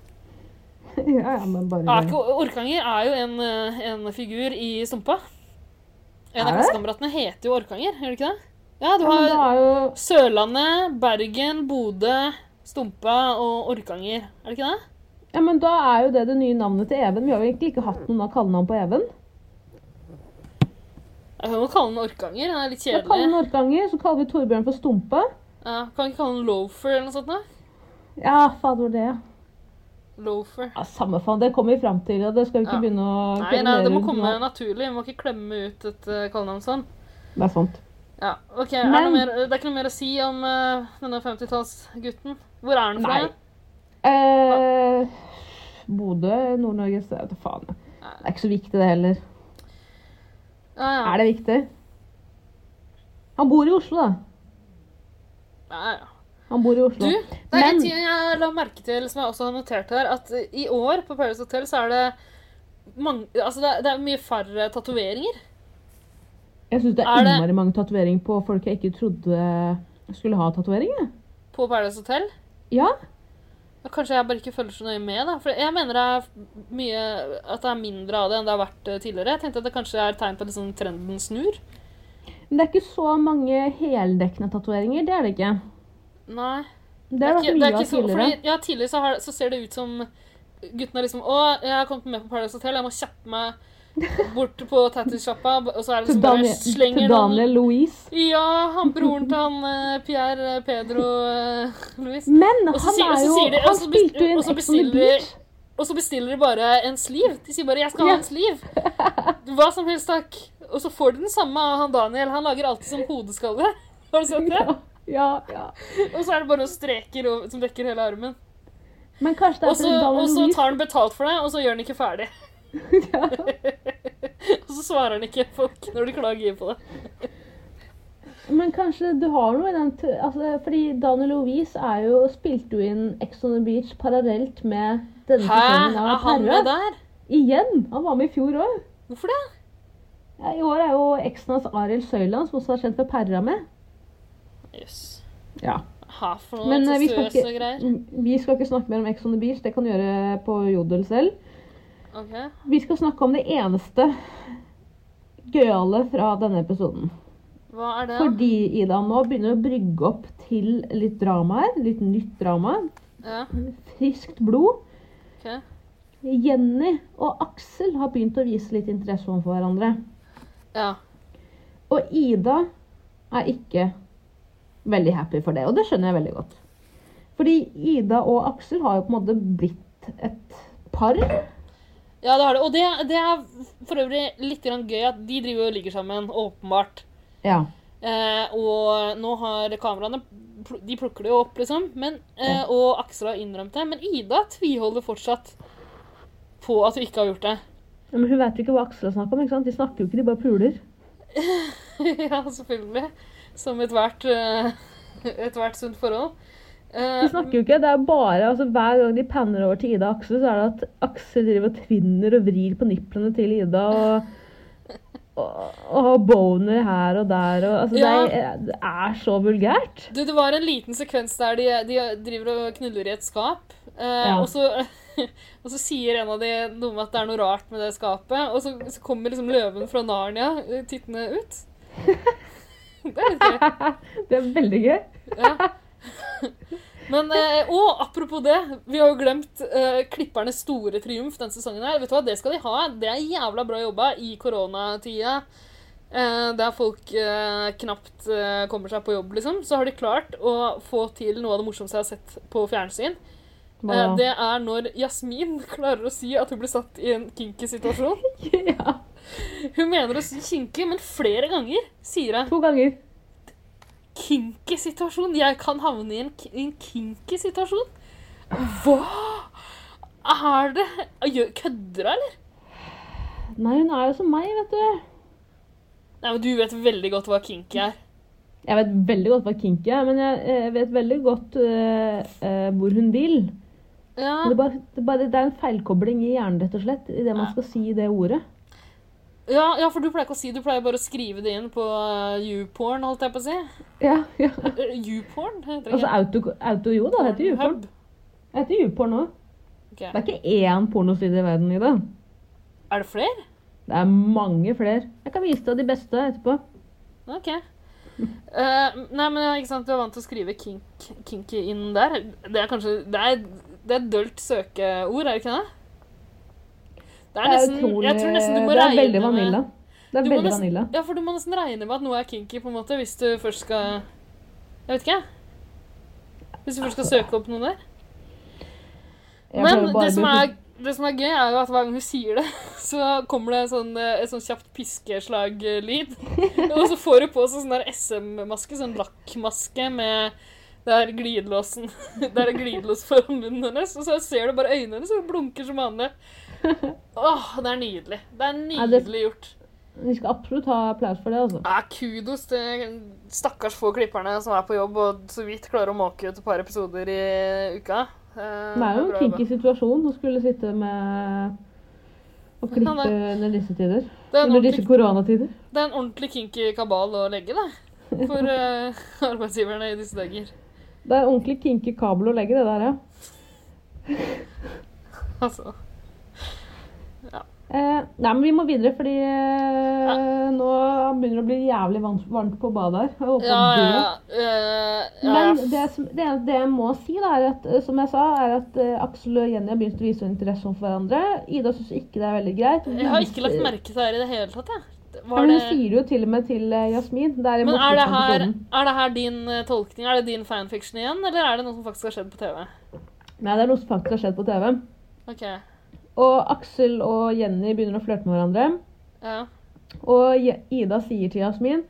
Ja, ja, men bare
Er ikke, Orkanger er jo en, eh, en figur i Stumpa. En
Er
av
det?
klassekameratene heter jo Orkanger, gjør det ikke det? Ja, du
ja, men det
har
er jo
Sørlandet, Bergen, Bodø, Stumpa og Orkanger. Er det ikke det?
Ja, men da er jo det det nye navnet til Even. Vi har jo egentlig ikke hatt noen av kallenavn på Even.
Jeg kan jo kalle den Orkanger. Den er litt
Da kaller vi
kjedelig.
Nortganger, så kaller vi Torbjørn for Stumpe.
Ja, kan vi ikke kalle den Loafer eller noe sånt? da?
Ja, faen det var det.
Loafer.
Ja, samme faen, det kommer vi fram til, og det skal vi ikke
Ja.
begynne å
Nei, nei, det må
rundt
komme
nå.
naturlig. Vi må ikke klemme ut et eh, kallenavn sånn.
Det er sant.
Ja, ok. Er det,
Men-
noe mer, det er ikke noe mer å si om eh, denne 50-tallsgutten? Hvor er han fra?
Nei. Eh, Bodø, Nord-Norge, så jeg vet da faen. jeg. Det er ikke så viktig det heller.
Ja, ja.
Er det viktig? Han bor i Oslo, da.
Ja, ja.
Han bor i
Du,
Oslo.
det er en
Men-
ting jeg la merke til, som jeg også har notert her, at i år på Paradise Hotel så er det mange, altså det, er- det er mye færre tatoveringer.
jeg syns det er,
er det-
innmari mange tatoveringer på folk jeg ikke trodde skulle ha tatoveringer. jeg.
på Paradise Hotel.
Ja.
Og Kanskje jeg bare ikke følger så nøye med, da. For jeg mener det er mye, at det er mindre av det enn det har vært eh, tidligere. Jeg tenkte at det kanskje er tegn på at liksom trenden snur.
Men det er ikke så mange heldekkende tatoveringer. Det er det ikke.
Nei.
Det har vært
ikke- det
mye
er
av
ikke så-
tidligere.
Fordi, ja, tidligere så, har, så ser det ut som guttene er liksom Å, jeg har kommet med på Paradise Hotel, jeg må kjappe meg bort på tattis-sjappa, og så er det
Til
liksom bare
Daniel,
slenger
til
noen
Daniel Louise.
Ja, han broren til han eh, Pierre eh, Pedro eh, Luis.
Men
Og så
han
sier- og
er
så
jo
sier de- og
Han
så bes-
spilte jo i en
og
Ex
så
on the
bestiller-
Beach.
Og så bestiller de bare en sliv. De sier bare 'jeg skal ha
Ja.
en sliv'. Hva som helst, takk. Og så får de den samme av han Daniel. Han lager alltid som hodeskalle. Har du sett det?
Ja, ja, ja.
Og så er det bare noen streker over, som dekker hele armen.
Men kanskje det
Og
er
så
fordi
og
Daniel
så
Louise
tar han betalt for det, og så gjør han ikke ferdig.
ja.
Og så svarer han ikke folk når de klager på det.
Men kanskje du har noe i den t- altså, Fordi Daniel Louise er jo, spilte jo inn Ex on the Beach parallelt med denne
Hæ?
sesongen
Er
av
han med
Herre.
der?
Igjen! Han var med i fjor òg.
Hvorfor det?
I år er jo eksen hans Arild Søyland, som også er kjent for Perra, med.
Jøss.
Ja.
Hæ, for noe
Men eh, vi skal,
søs og
ikke, Mm,
greier.
vi skal ikke snakke mer om Ex on the Beach, det kan du gjøre på Jodel selv.
Ok.
Vi skal snakke om det eneste gøyale fra denne episoden.
Hva er det? da?
Fordi Ida nå begynner å brygge opp til litt drama her. Litt nytt drama.
Ja,
Friskt blod.
ok.
Jenny og Aksel har begynt å vise litt interesse overfor hverandre.
Ja.
Og Ida er ikke veldig happy for det, og det skjønner jeg veldig godt. Fordi Ida og Aksel har jo på en måte blitt et par.
ja, det har det. Og det, det er for øvrig litt grann gøy at de driver og ligger sammen, åpenbart.
Ja.
Eh, og nå har kameraene pl- De plukker det jo opp, liksom. Men, eh, og Aksel har innrømt det. Men Ida tviholder fortsatt på at hun ikke har gjort det.
Men hun veit jo ikke hva Aksel snakker om. ikke sant? De snakker jo ikke, de bare puler.
ja, selvfølgelig. Som ethvert eh, ethvert sunt forhold. Eh,
De snakker jo ikke, det er bare, altså Hver gang de panner over til Ida og Aksel, så er det at Aksel driver og tvinner og vrir på niplene til Ida. og... Og, og boner her og der og altså,
Ja.
det, er, det er så vulgært.
Du, det var en liten sekvens der de, de driver og knuller i et skap. Eh,
Ja.
og, så, og så sier en av de noe med at det er noe rart med det skapet. Og så, så kommer liksom løven fra Narnia eh, tittende ut. Det er litt gøy.
Det er veldig gøy.
Ja. Men, eh, og apropos det, vi har jo glemt eh, klippernes store triumf denne sesongen. her. Vet du hva, Det skal de ha. Det er jævla bra jobba i koronatida. Eh, der folk eh, knapt eh, kommer seg på jobb, liksom. Så har de klart å få til noe av det morsomste jeg har sett på fjernsyn. Eh,
Hva-
det er når Jasmin klarer å si at hun ble satt i en kinky situasjon.
ja,
Hun mener å si kinky, men flere ganger sier hun
to ganger.
kinky situasjon. Jeg kan havne i en, ki- i en kinky situasjon. Hva er det? Eh, Gjør- Kødder hun, eller?
Nei, hun er jo som meg, vet du.
Nei, men Du vet veldig godt hva kinky er.
Jeg vet veldig godt hva kinky er, men jeg, eh, vet veldig godt eh, eh, hvor hun vil.
Ja,
Men Det, er bare, det, er bare, det er en feilkobling i hjernen, rett og slett, i det man skal si i det ordet.
ja, ja, for du pleier ikke å si Du pleier bare å skrive det inn på eh, YouPorn, holdt jeg på å si.
Ja, ja.
Eh, YouPorn? heter det
Altså
ikke?
auto, auto jo, da. det Heter YouPorn.
Hub.
Det Heter YouPorn òg.
Ok.
Det er ikke én pornoside i verden i det.
Er det flere?
Det er mange flere. Jeg kan vise deg de beste etterpå.
OK. Eh, nei, men ja, ikke sant, Du er vant til å skrive kink, kinky inn der. Det er kanskje Det er, det er et dølt søkeord, er det ikke det? Det er nesten, jeg tror nesten du må
det er
regne
veldig vanilla.
med
Det er
Du må
veldig
nesten-
vanilla.
Ja, for du må nesten regne med at noe er kinky, på en måte, hvis du først skal Jeg vet ikke, jeg. Hvis du først skal søke opp noe der.
Jeg
Men
prøver bare
det som,
å-
er, det som er gøy, er jo at hver gang hun sier det, så kommer det sånn, eh, et sånn kjapt piskeslag-lyd. Og så får hun på seg sånn der SM-maske, sånn lakkmaske med der glidelåsen Der er glidelås foran munnen hennes, og så ser du bare øynene hennes, og hun blunker som vanlig. Åh, det er nydelig. Det er
Ja, det-
nydelig gjort.
Vi skal absolutt ha applaus for det, altså.
Ja, kudos til stakkars få klipperne som er på jobb og så vidt klarer å måke ut et par episoder i uka. Eh,
Det er jo en
bra jobba.
kinky situasjon å skulle sitte med og klippe
Ja, det
under disse tider.
Det er en
Under disse
ordentlig,
koronatider.
det er en ordentlig kinky kabal å legge, da. For eh, arbeidsgiverne i disse dager.
Det er ordentlig kinky kabel å legge, det der, ja.
Altså.
Eh, nei, men vi må videre, fordi eh, nå begynner det å bli jævlig varmt, varmt på badet her. Jeg håper
Ja,
at du
ja,
gjør det.
ja. Eh, ja, ja.
Men det, som, det, det jeg må si, da, er at, eh, som jeg sa, er at eh, Aksel og Jenny har begynt å vise interesse for hverandre. Ida syns ikke det er veldig greit.
Jeg har ikke lagt merke til det her i det hele tatt, jeg.
Ja,
Var
men
det...
Hun sier det jo til og med til eh, Jasmin. Det er i
Men er det,
bortsett fra
her,
episoden.
er det her din eh, tolkning? Er det din fanfiction igjen, eller er det noe som faktisk har skjedd på TV?
Nei, det er noe som faktisk har skjedd på TV.
OK.
Og Aksel og Jenny begynner å flørte med hverandre.
Ja.
Og Je- Ida sier til Jasmin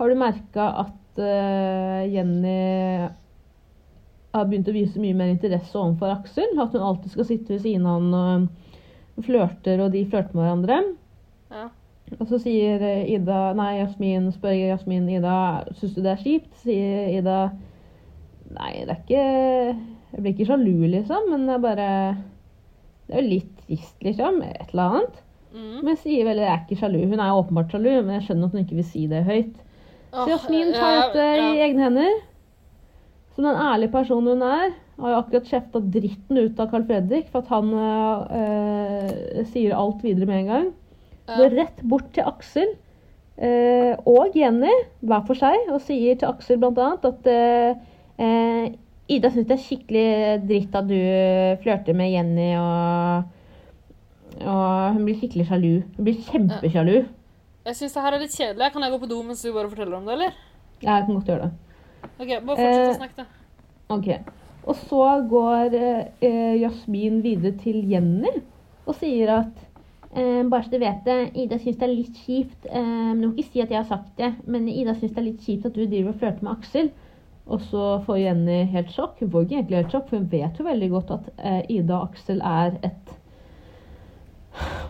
Har du merka at eh, Jenny har begynt å vise mye mer interesse overfor Aksel? At hun alltid skal sitte ved siden av han og flørter, og de flørter med hverandre.
Ja.
Og så sier eh, Ida Nei, Jasmin spør Jasmin Ida syns du det er kjipt? Sier Ida Nei, det er ikke Jeg blir ikke sjalu, liksom, men det er bare Det er jo litt trist, liksom. Et eller annet.
Mm.
Men jeg sier vel jeg er ikke sjalu. Hun er jo åpenbart sjalu, men jeg skjønner at hun ikke vil si det høyt.
Åh,
Så Jasmin tar
ja,
dette
ja.
i egne hender. Som den ærlige personen hun er. Har jo akkurat kjefta dritten ut av Carl Fredrik for at han øh, øh, sier alt videre med en gang.
Ja.
Går rett bort til Aksel eh, og Jenny hver for seg og sier til Aksel bl.a. at eh, eh, Ida syns det er skikkelig dritt at du flørter med Jenny, og, og hun blir skikkelig sjalu. Hun blir kjempesjalu.
Jeg syns det her er litt kjedelig. Kan jeg gå på do mens du bare forteller om det, eller?
Ja, Jeg kan godt gjøre det.
Ok, Bare fortsett
Eh.
å snakke, da.
Ok. Og så går eh, eh, Jasmin videre til Jenny og sier at eh, bare så du vet det, Ida syns det er litt kjipt. Eh, men du må ikke si at jeg har sagt det, men Ida syns det er litt kjipt at du driver og flørter med Aksel. Og så får Jenny helt sjokk. Hun får ikke egentlig helt sjokk, for hun vet jo veldig godt at eh, Ida og Aksel er et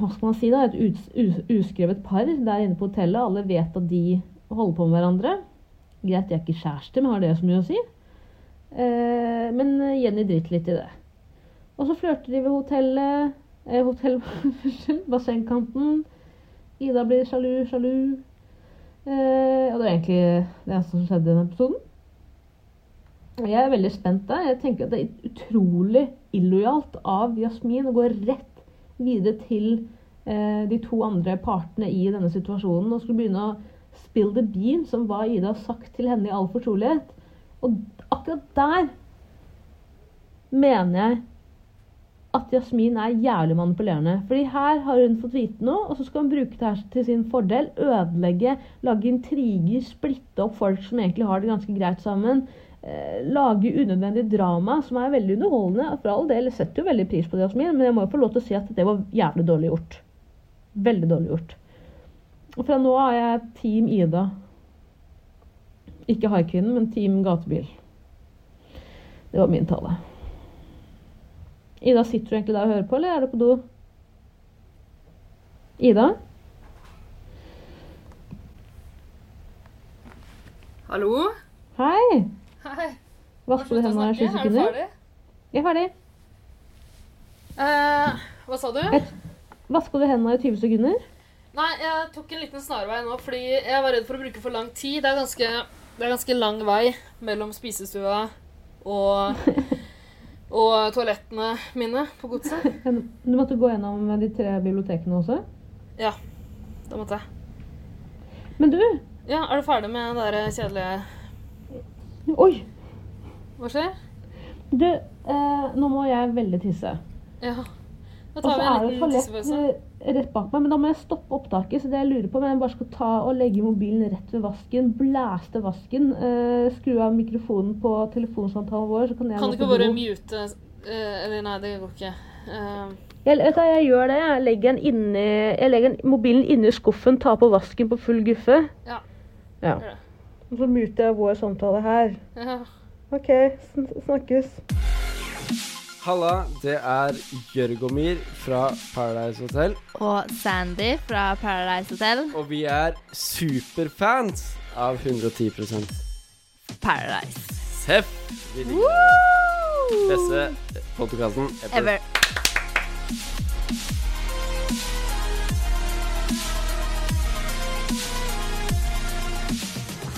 Hva skal man si, da? Et uts- us uskrevet par der inne på hotellet. Alle vet at de holder på med hverandre. Greit, de er ikke kjærester, men har det så mye å si? Eh, men Jenny driter litt i det. Og så flørter de ved hotellet eh, hotell, unnskyld, Bassengkanten. Ida blir sjalu, sjalu. Eh, og det var egentlig det eneste som skjedde i den episoden. Og Jeg er veldig spent der. Jeg tenker at det er utrolig illojalt av Jasmin å gå rett videre til eh, de to andre partene i denne situasjonen og skulle begynne å spill the beans om hva Ida har sagt til henne i all fortrolighet. Og akkurat der mener jeg at Jasmin er jævlig manipulerende. Fordi her har hun fått vite noe, og så skal hun bruke det her til sin fordel. Ødelegge, lage intriger, splitte opp folk som egentlig har det ganske greit sammen. Eh, lage unødvendig drama, som er veldig underholdende. For all del jeg setter jo veldig pris på det, Jasmin, men jeg må jo få lov til å si at det var jævlig dårlig gjort. Veldig dårlig gjort. Og fra nå av er jeg Team Ida. Ikke haikvinnen, men Team Gatebil. Det var min tale. Ida, sitter du egentlig der og hører på, eller er du på do? Ida?
Hallo?
Hei!
Hei.
Vasker du hendene i sju
Er du
sekunder?
ferdig?
Jeg er ferdig.
Eh, hva sa du?
Vasker du hendene i 20 sekunder?
Nei, jeg tok en liten snarvei nå, fordi jeg var redd for å bruke for lang tid. Det er ganske, det er ganske lang vei mellom spisestua og, og toalettene mine på godset.
Du måtte gå gjennom de tre bibliotekene også.
Ja, da måtte jeg.
Men du!
Ja, er du ferdig med det der kjedelige
Oi!
Hva skjer?
Du, eh, nå må jeg veldig tisse.
Ja.
Og
Da
så
tar vi
Altså, er
en
det et
liten
toalett
tissepause.
eh, rett bak meg, men da må jeg stoppe opptaket. Så det jeg lurer på, om jeg bare skal ta og legge mobilen rett ved vasken, blæste vasken, eh, skru av mikrofonen på telefonsamtalen vår, så kan jeg
Kan du
gå
ikke
på
bare
do.
mute eh, Eller nei, det går ikke. Eh,
Jeg, vet du, hva, jeg gjør det. Jeg legger, den inni, jeg legger den- mobilen inni skuffen, tar på vasken på full guffe.
Ja.
Ja.
Gjør det.
Og så muter jeg vår samtale her.
ja.
OK, sn- snakkes.
Halla, det er Jørgomir fra Paradise Hotel.
og Sandy fra Paradise Hotel.
Og vi er superfans av 110
Paradise.
Seff! Vi liker det. Beste podkasten ever.
Ever.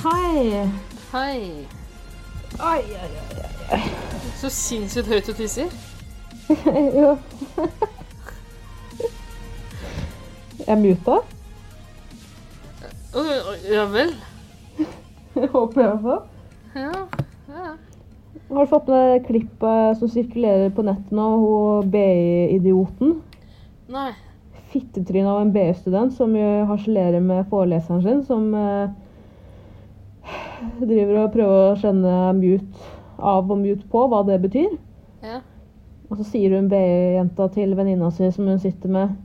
Hei.
Hei.
Ai, ai, ai.
Så sinnssykt høyt du tisser.
Jo. Jeg muta.
Oi, oi, Ja vel.
Håper jeg i hvert fall.
Ja. ja.
Har du fått med det klippet som sirkulerer på nettet nå, hun BI-idioten?
Nei.
fittetryn av en BI-student som jo harselerer med foreleseren sin, som eh, driver og prøver å skjønne mute av og mute på, hva det betyr.
Ja.
Og så sier hun BI-jenta til venninna si som hun sitter med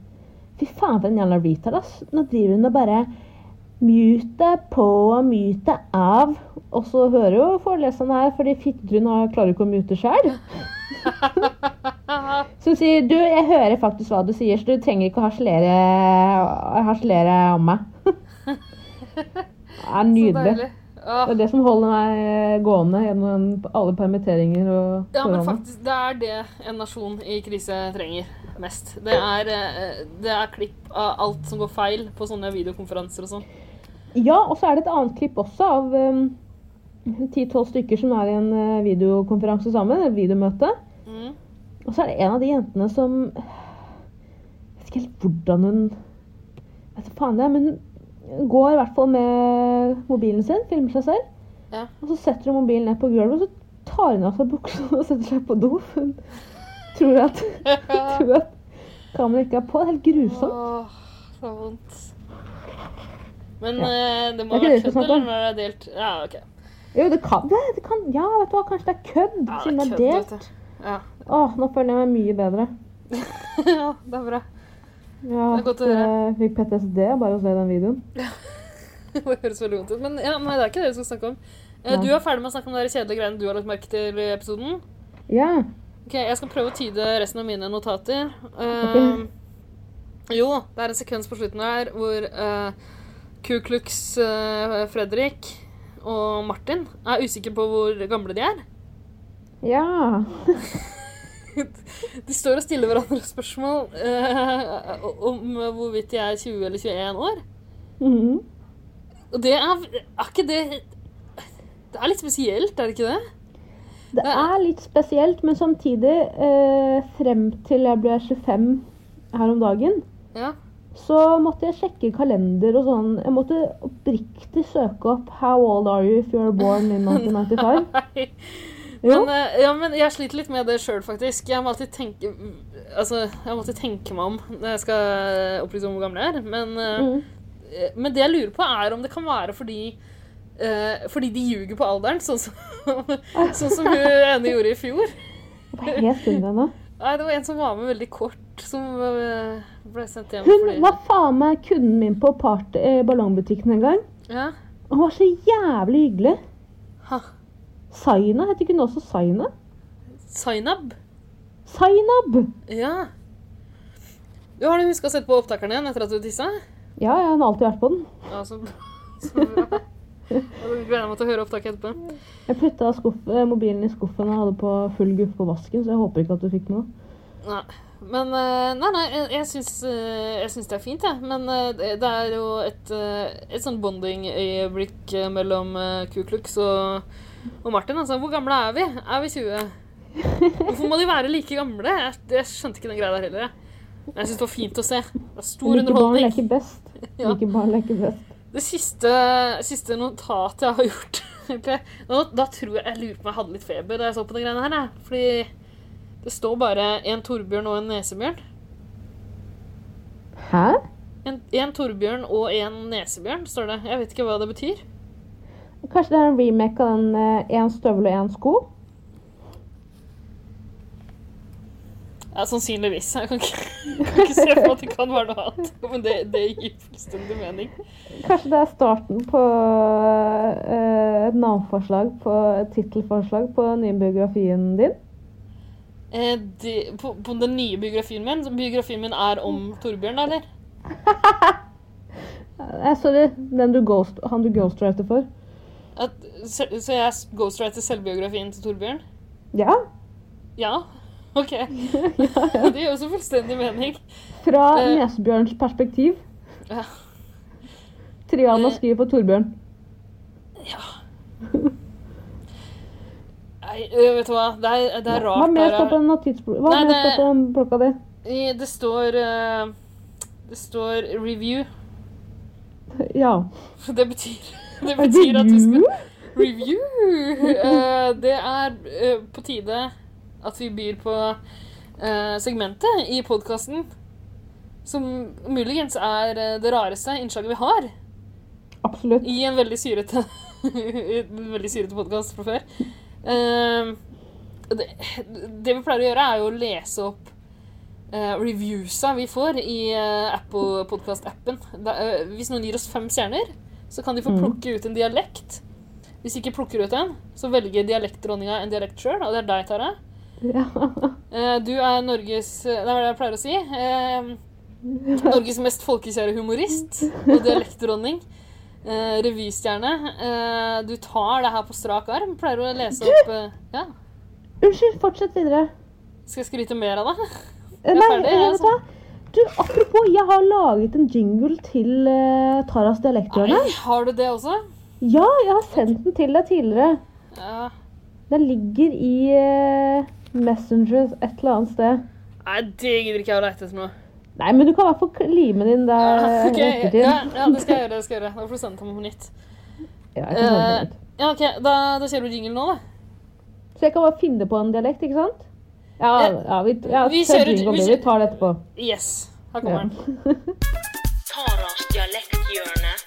Fy faen, for en jævla retard, ass. Nå driver hun og bare mute på og mute av. Og så hører jo foreleseren her, fordi fittetryn har- klarer ikke å mute sjøl. Så hun sier du, jeg hører faktisk hva du sier, så du trenger ikke å harselere, harselere om meg. Det er
Så
nydelig.
deilig. Ja.
Det er det som holder meg gående gjennom alle permitteringer og
ja, men
korona.
faktisk, det er det en nasjon i krise trenger mest. Det er, eh, det er klipp av alt som går feil på sånne videokonferanser og sånn.
Ja, og så er det et annet klipp også av um, 10-12 stykker som er i en eh, videokonferanse sammen, et videomøte.
Mm.
Og så er det en av de jentene som Jeg vet ikke helt hvordan hun Jeg vet da faen det, er, men går i hvert fall med mobilen sin, filmer seg selv.
Ja.
Og så setter hun mobilen ned på gulvet, og så tar hun av seg buksa og setter seg på do. Hun tror at, tror at kameraet ikke er på. Det er helt grusomt.
Åh, så vondt. Men
Ja.
eh, det
Det er
må
ikke det
være
vi skal
kødd,
snakke om.
eller når det er delt? Ja, ok. Ja,
Jo, det kan det. det kan, ja, vet du hva, kanskje det er kødd,
det er
siden det
kødd,
er delt.
vet du. Ja.
Åh, nå føler jeg meg mye bedre.
ja, det er bra.
Ja,
Det er godt å høre.
jeg eh, fikk PTSD bare å se den videoen.
Det høres veldig vondt ut. Men ja, nei, det er ikke det vi skal snakke om. Eh,
Nei.
Du er ferdig med å snakke om de kjedelige greiene du har lagt merke til i episoden.
Ja,
Ok, Jeg skal prøve å tyde resten av mine notater. Eh, jo, det er en sekvens på slutten her hvor eh, Ku Klux eh, Fredrik og Martin er usikre på hvor gamle de er.
ja.
De står og stiller hverandre spørsmål eh, om hvorvidt de er 20 eller 21 år.
Mhm.
Og det er, er ikke det Det er litt spesielt, er det ikke det?
Det er litt spesielt, men samtidig, eh, frem til jeg ble 25 her om dagen,
Ja.
så måtte jeg sjekke kalender og sånn. Jeg måtte oppriktig søke opp 'How old are you if you were born in 1995?'
Nei.
Jo.
Men, eh, ja, men jeg sliter litt med det sjøl, faktisk. Jeg må alltid tenke Altså, jeg må alltid tenke meg om når jeg skal eh, opplyse om hvor gammel jeg er. Men, eh,
Mm.
men det jeg lurer på, er om det kan være fordi eh, fordi de ljuger på alderen, sånn som, sånn som hun ene gjorde i fjor.
Jeg ble helt under henne.
Nei, det var en som var med veldig kort, som øh, ble sendt hjem
Hun
fordi
var faen meg kunden min på part, eh, ballongbutikken en gang.
Ja.
Og hun var så jævlig hyggelig.
Ha.
Saina, heter ikke hun også Saina?
Zainab.
Zainab!
Ja. Du har du huska å sette på opptakeren igjen etter at du tissa?
Ja, jeg har alltid vært på den.
Ja, så, så bra. Jeg gleder meg til å høre opptaket etterpå.
Jeg putta skuff- eh, mobilen i skuffen og hadde på full guffe på vasken, så jeg håper ikke at du fikk med noe.
Nei. Men øh, Nei, nei, jeg, jeg syns øh, jeg syns det er fint, jeg. Men øh, det det er jo et, øh, et sånn bonding-øyeblikk øh, mellom øh, Ku Klux og, og Martin. Altså, hvor gamle er vi? Er vi 20? Hvorfor må de være like gamle? Jeg, jeg skjønte ikke den greia der heller. jeg. Men jeg syns det var fint å se. Det er stor
Like barn
underholdning.
leker best.
Ja.
Like barn leker best.
Det siste, siste notatet jeg har gjort egentlig, nå, Da tror jeg jeg lurer på om jeg hadde litt feber da jeg så på de greiene her. jeg. Fordi det står bare en torbjørn og en nesebjørn.
Hæ?
En, en torbjørn og en nesebjørn, står det. Jeg vet ikke hva det betyr.
Kanskje det er en remake av den eh, én støvel og én sko?
Ja, Sannsynligvis. Jeg kan ikke, kan ikke se for meg at det kan være noe annet. Men det, det gir fullstendig mening.
Kanskje det er starten på eh, et navnforslag, på et tittelforslag på den nye biografien din?
Eh, det, på, på den nye biografien min så Biografien min er om Torbjørn, da, eller?
Eh, sorry, den du ghost, han du ghostwriter for.
At, så, så jeg ghostwriter selvbiografien til Torbjørn?
Ja.
Ja, ok. Det gir også fullstendig mening.
Fra
Eh.
Nesbjørns perspektiv.
Ja.
Triana
Eh.
skriver for Torbjørn.
Nei, øh, vet du hva, det er, det er
Hva
rart.
mer
der
står
er-
på den tidsbl- Hva
Nei,
mer
det-
står på den blokka di?
I- Det står øh, Det står review.
Ja.
Det betyr, det betyr at vi skal
Review?
Review! Eh, det er øh, på tide at vi byr på øh, segmentet i podkasten som muligens er øh, det rareste innslaget vi har.
Absolutt.
I en veldig syrete En veldig syrete podkast fra før. Ehm, det, det vi pleier å gjøre, er jo å lese opp eh, reviewsa vi får i eh, Apple Podcast-appen. Da, eh, hvis noen gir oss fem stjerner, så kan de få plukke ut en dialekt. Hvis de ikke plukker ut en, så velger dialektdronninga en dialekt sjøl, og det er deg, Tara.
Ja.
Eh, du er Norges Det er det jeg pleier å si. Eh, Norges mest folkekjære humorist og dialektdronning. Eh, revystjerne. Eh, du tar det her på strak arm. Pleier å lese opp eh, Ja.
Unnskyld, fortsett videre.
Skal jeg skryte mer av deg?
Eh,
Jeg er
Nei,
ferdig,
eh,
jeg, altså.
vet du hva? Du, apropos, jeg har laget en jingle til eh, Taras dialekthjørne.
Nei, har du det også?
Ja, jeg har sendt den til deg tidligere.
Ja.
Den ligger i eh, Messenger et eller annet sted.
Nei, det gidder ikke jeg å leite etter nå.
Nei, men du kan i hvert fall lime den inn der eh, i
Ok,
ettertid.
ja, ja, det skal jeg gjøre. det skal jeg gjøre. Da får du sende til meg på nytt.
Ja, jeg kan ta
Eh,
den ut.
Ja, ok, Da, da kjører du jingle nå, da.
Så jeg kan bare finne på en dialekt, ikke sant? Ja,
Eh,
ja, vi, ja
vi
kjør
kjører-
jingle,
vi
vi,
kjører-
tar det etterpå.
Yes.
Ja.
Her kommer den.
Taras dialekthjørne.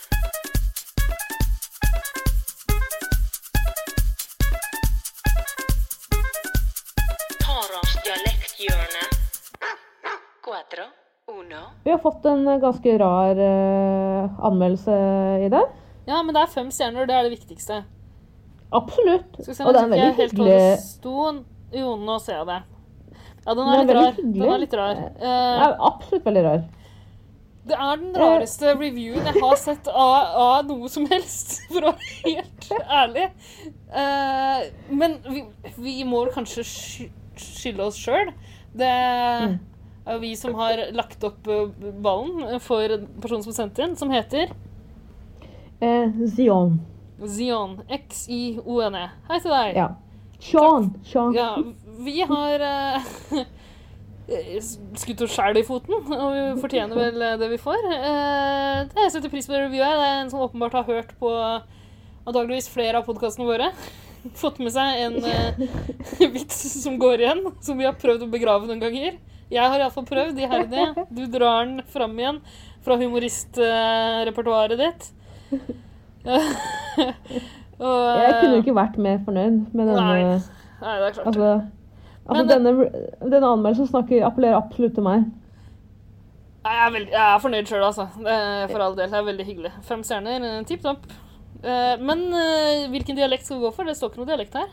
Taras dialekthjørne. Cuatro, uno.
Vi har fått en eh, ganske rar eh, anmeldelse i det.
Ja, men det er fem stjerner. Det er det viktigste.
Absolutt.
Skal vi se,
Og det er en
nå
veldig
husker jeg helt hvor
hyggelig
det sto. Jo, nå ser jeg det. Ja, den er
Den er veldig
litt rar. Den er
hyggelig.
litt rar.
Den
Eh,
er absolutt veldig rar.
det er den rareste reviewen jeg har sett av, av noe som helst, for å være helt ærlig. Eh, men vi, vi må vel kanskje sky- skylde oss sjøl. Det
Mm.
er jo vi som har lagt opp eh, ballen for personen som sendte inn, som heter
Eh, Zion.
Zion. X-I-O-N-E. Hei til deg.
Ja. Sean. Sean.
Ja, vi har eh, skutt oss sjæl i foten, og vi fortjener vel eh, det vi får. Eh, det jeg setter pris på det reviewet. her. Det er en som åpenbart har hørt på antageligvis flere av podkastene våre. Fått med seg en eh, vits som går igjen, som vi har prøvd å begrave noen ganger. Jeg har iallfall prøvd, iherdig. Du drar den fram igjen fra humoristrepertoaret ditt. og,
Jeg kunne ikke vært mer fornøyd med denne
eh, Nei. Nei, det er klart.
Altså, altså
Men- eh,
denne, denne anmeldelsen snakker, appellerer absolutt til meg.
Nei, Jeg er, veldig, jeg er fornøyd sjøl, altså. Det er for all del. Det er veldig hyggelig. Fem stjerner, eh, tipp topp. Eh, Men eh, hvilken dialekt skal vi gå for? Det står ikke noe dialekt her.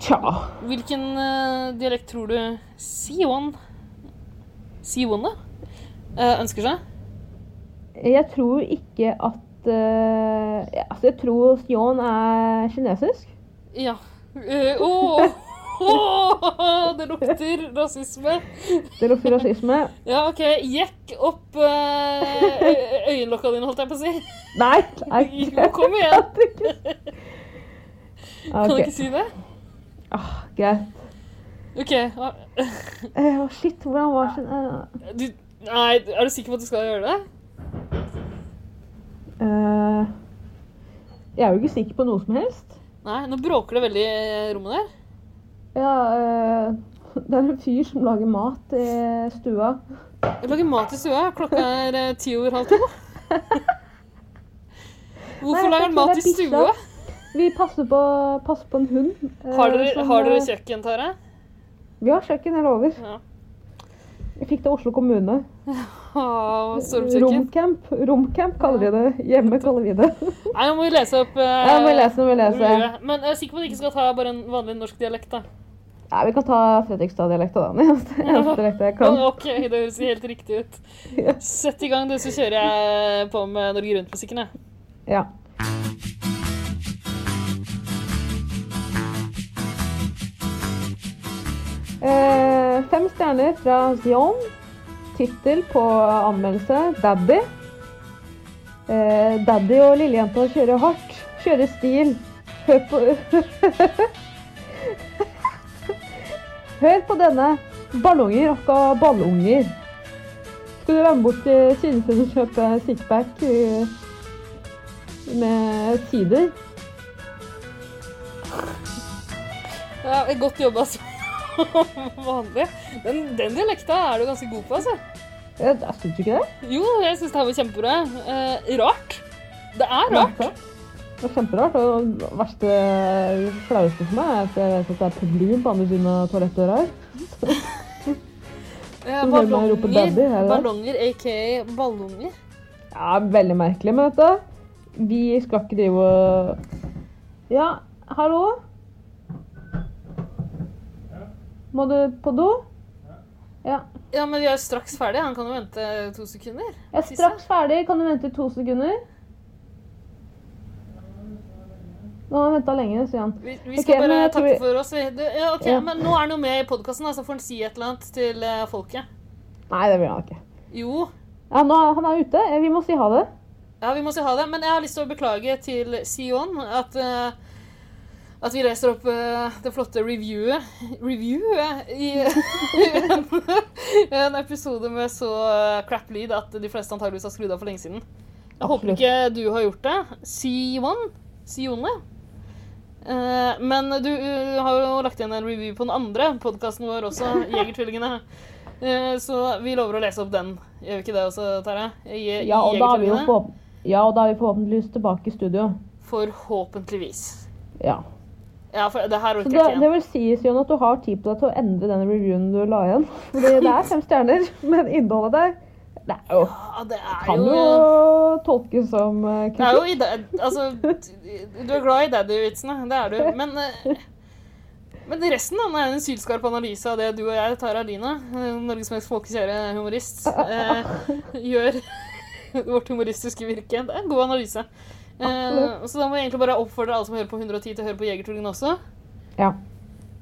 Tja.
Hvilken eh, dialekt tror du Siwon Siwon, da? eh, ønsker seg?
Jeg tror ikke at eh, ja, Altså, jeg tror Sion er kinesisk.
Ja. Eh, Åh! Åh, det lukter rasisme.
Det lukter rasisme.
Ja, OK. Jekk opp eh, ø- øyenlokka dine, holdt jeg på å si.
Nei! nei.
Jo, kom igjen. Kan
Ok, Ah,
du ikke si det?
Greit.
OK. ah,
Eh, shit, hvordan var sin eh,
Du, nei, er du sikker på at du skal gjøre det?
eh, Jeg er jo ikke sikker på noe som helst.
Nei, nå bråker det veldig i eh, rommet der.
Ja, eh, det er en fyr som lager mat i stua.
Jeg lager mat i stua. Klokka er eh, ti over halv to. Hvorfor
Nei, jeg
lager han mat i
tror det er
stua?
Vi passer på, passer på en hund. eh,
Har dere,
som,
har dere
eh,
kjøkken, Tara?
Vi har kjøkken, jeg lover.
Ja.
Jeg fikk det av Oslo kommune.
Åh, Ah, Stormkjøkken.
Romcamp. Romcamp kaller de det. Hjemme kaller vi det.
Nei, nå må vi lese opp eh,
Ja, må vi lese, må vi lese.
ordet. Men jeg er sikker på at vi ikke skal ta bare en vanlig norsk dialekt, da.
Nei, vi kan ta Fredrikstad-dialekta, da. Den eneste, eneste dialekta jeg kan.
Ok, det høres helt riktig ut. Sett i gang, du, så kjører jeg på med Norge Rundt-musikken, jeg.
Ja. Eh, fem stjerner fra Zion. Tittel på anmeldelse 'Daddy'. Eh, daddy og lillejenta kjører hardt. Kjører stil. Hør på Hør på denne. Ballonger akka ballunger. Skal du være med bort til Sinnsund og kjøpe sixpack? eh, med sider.
Ja, godt jobba som vanlig. Den, den dialekta er du ganske god på, altså.
Jeg, jeg syns ikke det.
Jo, jeg syns det her var kjempebra. Eh, rart. Det er rart.
Det var kjemperart. Og det verste flaueste for meg er at jeg vet at det er publikum på andre siden av toalettdøra her.
Eh,
Du hører meg rope daddy, er
ballonger,
det?
ballonger aka ballunger.
Ja, veldig merkelig, men vet du. Vi skal ikke drive og Ja, hallo? Må du på do? Ja.
Ja, men vi er jo straks ferdig. Han kan jo vente eh, to sekunder.
Jeg er
Sisse?
straks ferdig. Kan du vente to sekunder? Nå har han venta lenge, sier han.
Vi, vi skal
Ok, men
bare
jeg tror
takke
vi-
for oss. Vi, du, ja, ok,
Ja.
Men nå er han jo med i podkasten, så får han si et eller annet til eh, folket.
Nei, det vil han ikke.
Jo.
Ja, nå, er- han er ute. Vi må si ha det.
Ja, vi må si ha det. Men jeg har lyst til å beklage til Sion at eh, At vi leser opp eh, det flotte reviewet Reviewet i en, en episode med så eh, crap lyd at de fleste antageligvis har skrudd av for lenge siden. Jeg håper
Absolutt.
ikke du har gjort det. Sione. Sione. Eh, men du eh, har jo lagt igjen en review på den andre podkasten vår også, Jegertvillingene. Eh, så vi lover å lese opp den. Gjør vi ikke det også, Tara? Je-
Ja, og da har vi jo
Jegertvillingene?
forhåp- ja, og da er vi forhåpentligvis tilbake i studio.
Forhåpentligvis.
Ja.
Ja, for det her
Så
orker
det,
jeg
det
ikke igjen.
vil sies, Jon, at du har tid på deg til å endre den reviewen du la igjen. Fordi det er fem stjerner, men innholdet der det er jo,
Ja, Ah, det er
kan jo
jo
tolkes som eh,
Det er jo
kritikk.
i dag, altså, Du er glad i daddy-vitsene, det er du. Men, eh, men resten da, det er en sylskarp analyse av det du og jeg, Tara Lina, eh, Norges mest folkekjære humorist, eh, gjør vårt humoristiske virke. Det er en god analyse. Eh, så da må jeg egentlig bare oppfordre alle som hører på 110 til å høre på Jegertvillingen også.
Ja.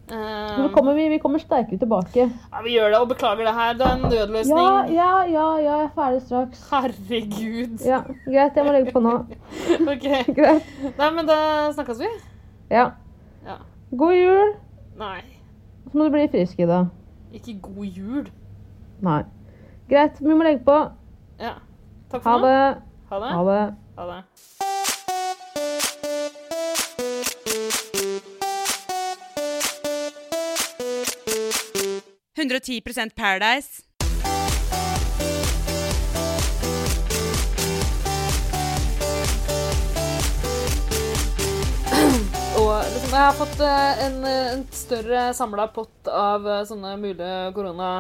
Eh,
Så kommer vi, vi kommer sterkere tilbake.
ja, vi gjør det, og beklager det her. Det er en
Ja,
nødløsning.
ja, ja, ja, jeg er ferdig straks.
Herregud.
Ja, Greit, jeg må legge på nå.
Ok.
Greit.
Nei, men da snakkes vi.
Ja.
Ja.
God jul,
Nei,
så må du bli frisk i det.
ikke god jul.
Nei. Greit, vi må legge på.
Ja. Takk
Ha
for nå.
det.
Ha det.
Ha det.
Ha det.
Paradise.
Og liksom, jeg har fått eh, en, eh, en større samla pott av eh, sånne mulige korona...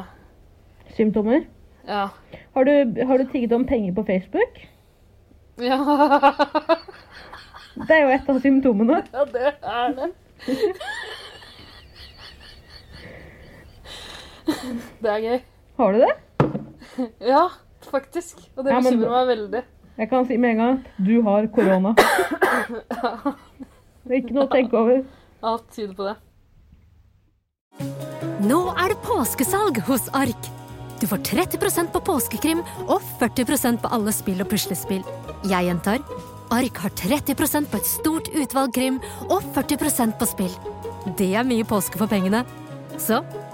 Symptomer?
Ja.
Har du, har du tigget om penger på Facebook?
Ja,
Det er jo et av symptomene.
ja det er det. Det er gøy.
Har du det?
Ja, faktisk. Og det
Ja, men-
bekymrer meg veldig.
Jeg kan si med en gang at du har korona. Det er ikke noe å tenke over.
Alt tyder på det.
Nå er det påskesalg hos Ark. Du får 30 på påskekrim og 40 på alle spill og puslespill. Jeg gjentar Ark har 30 på et stort utvalg krim og 40 på spill. Det er mye påske for pengene. Så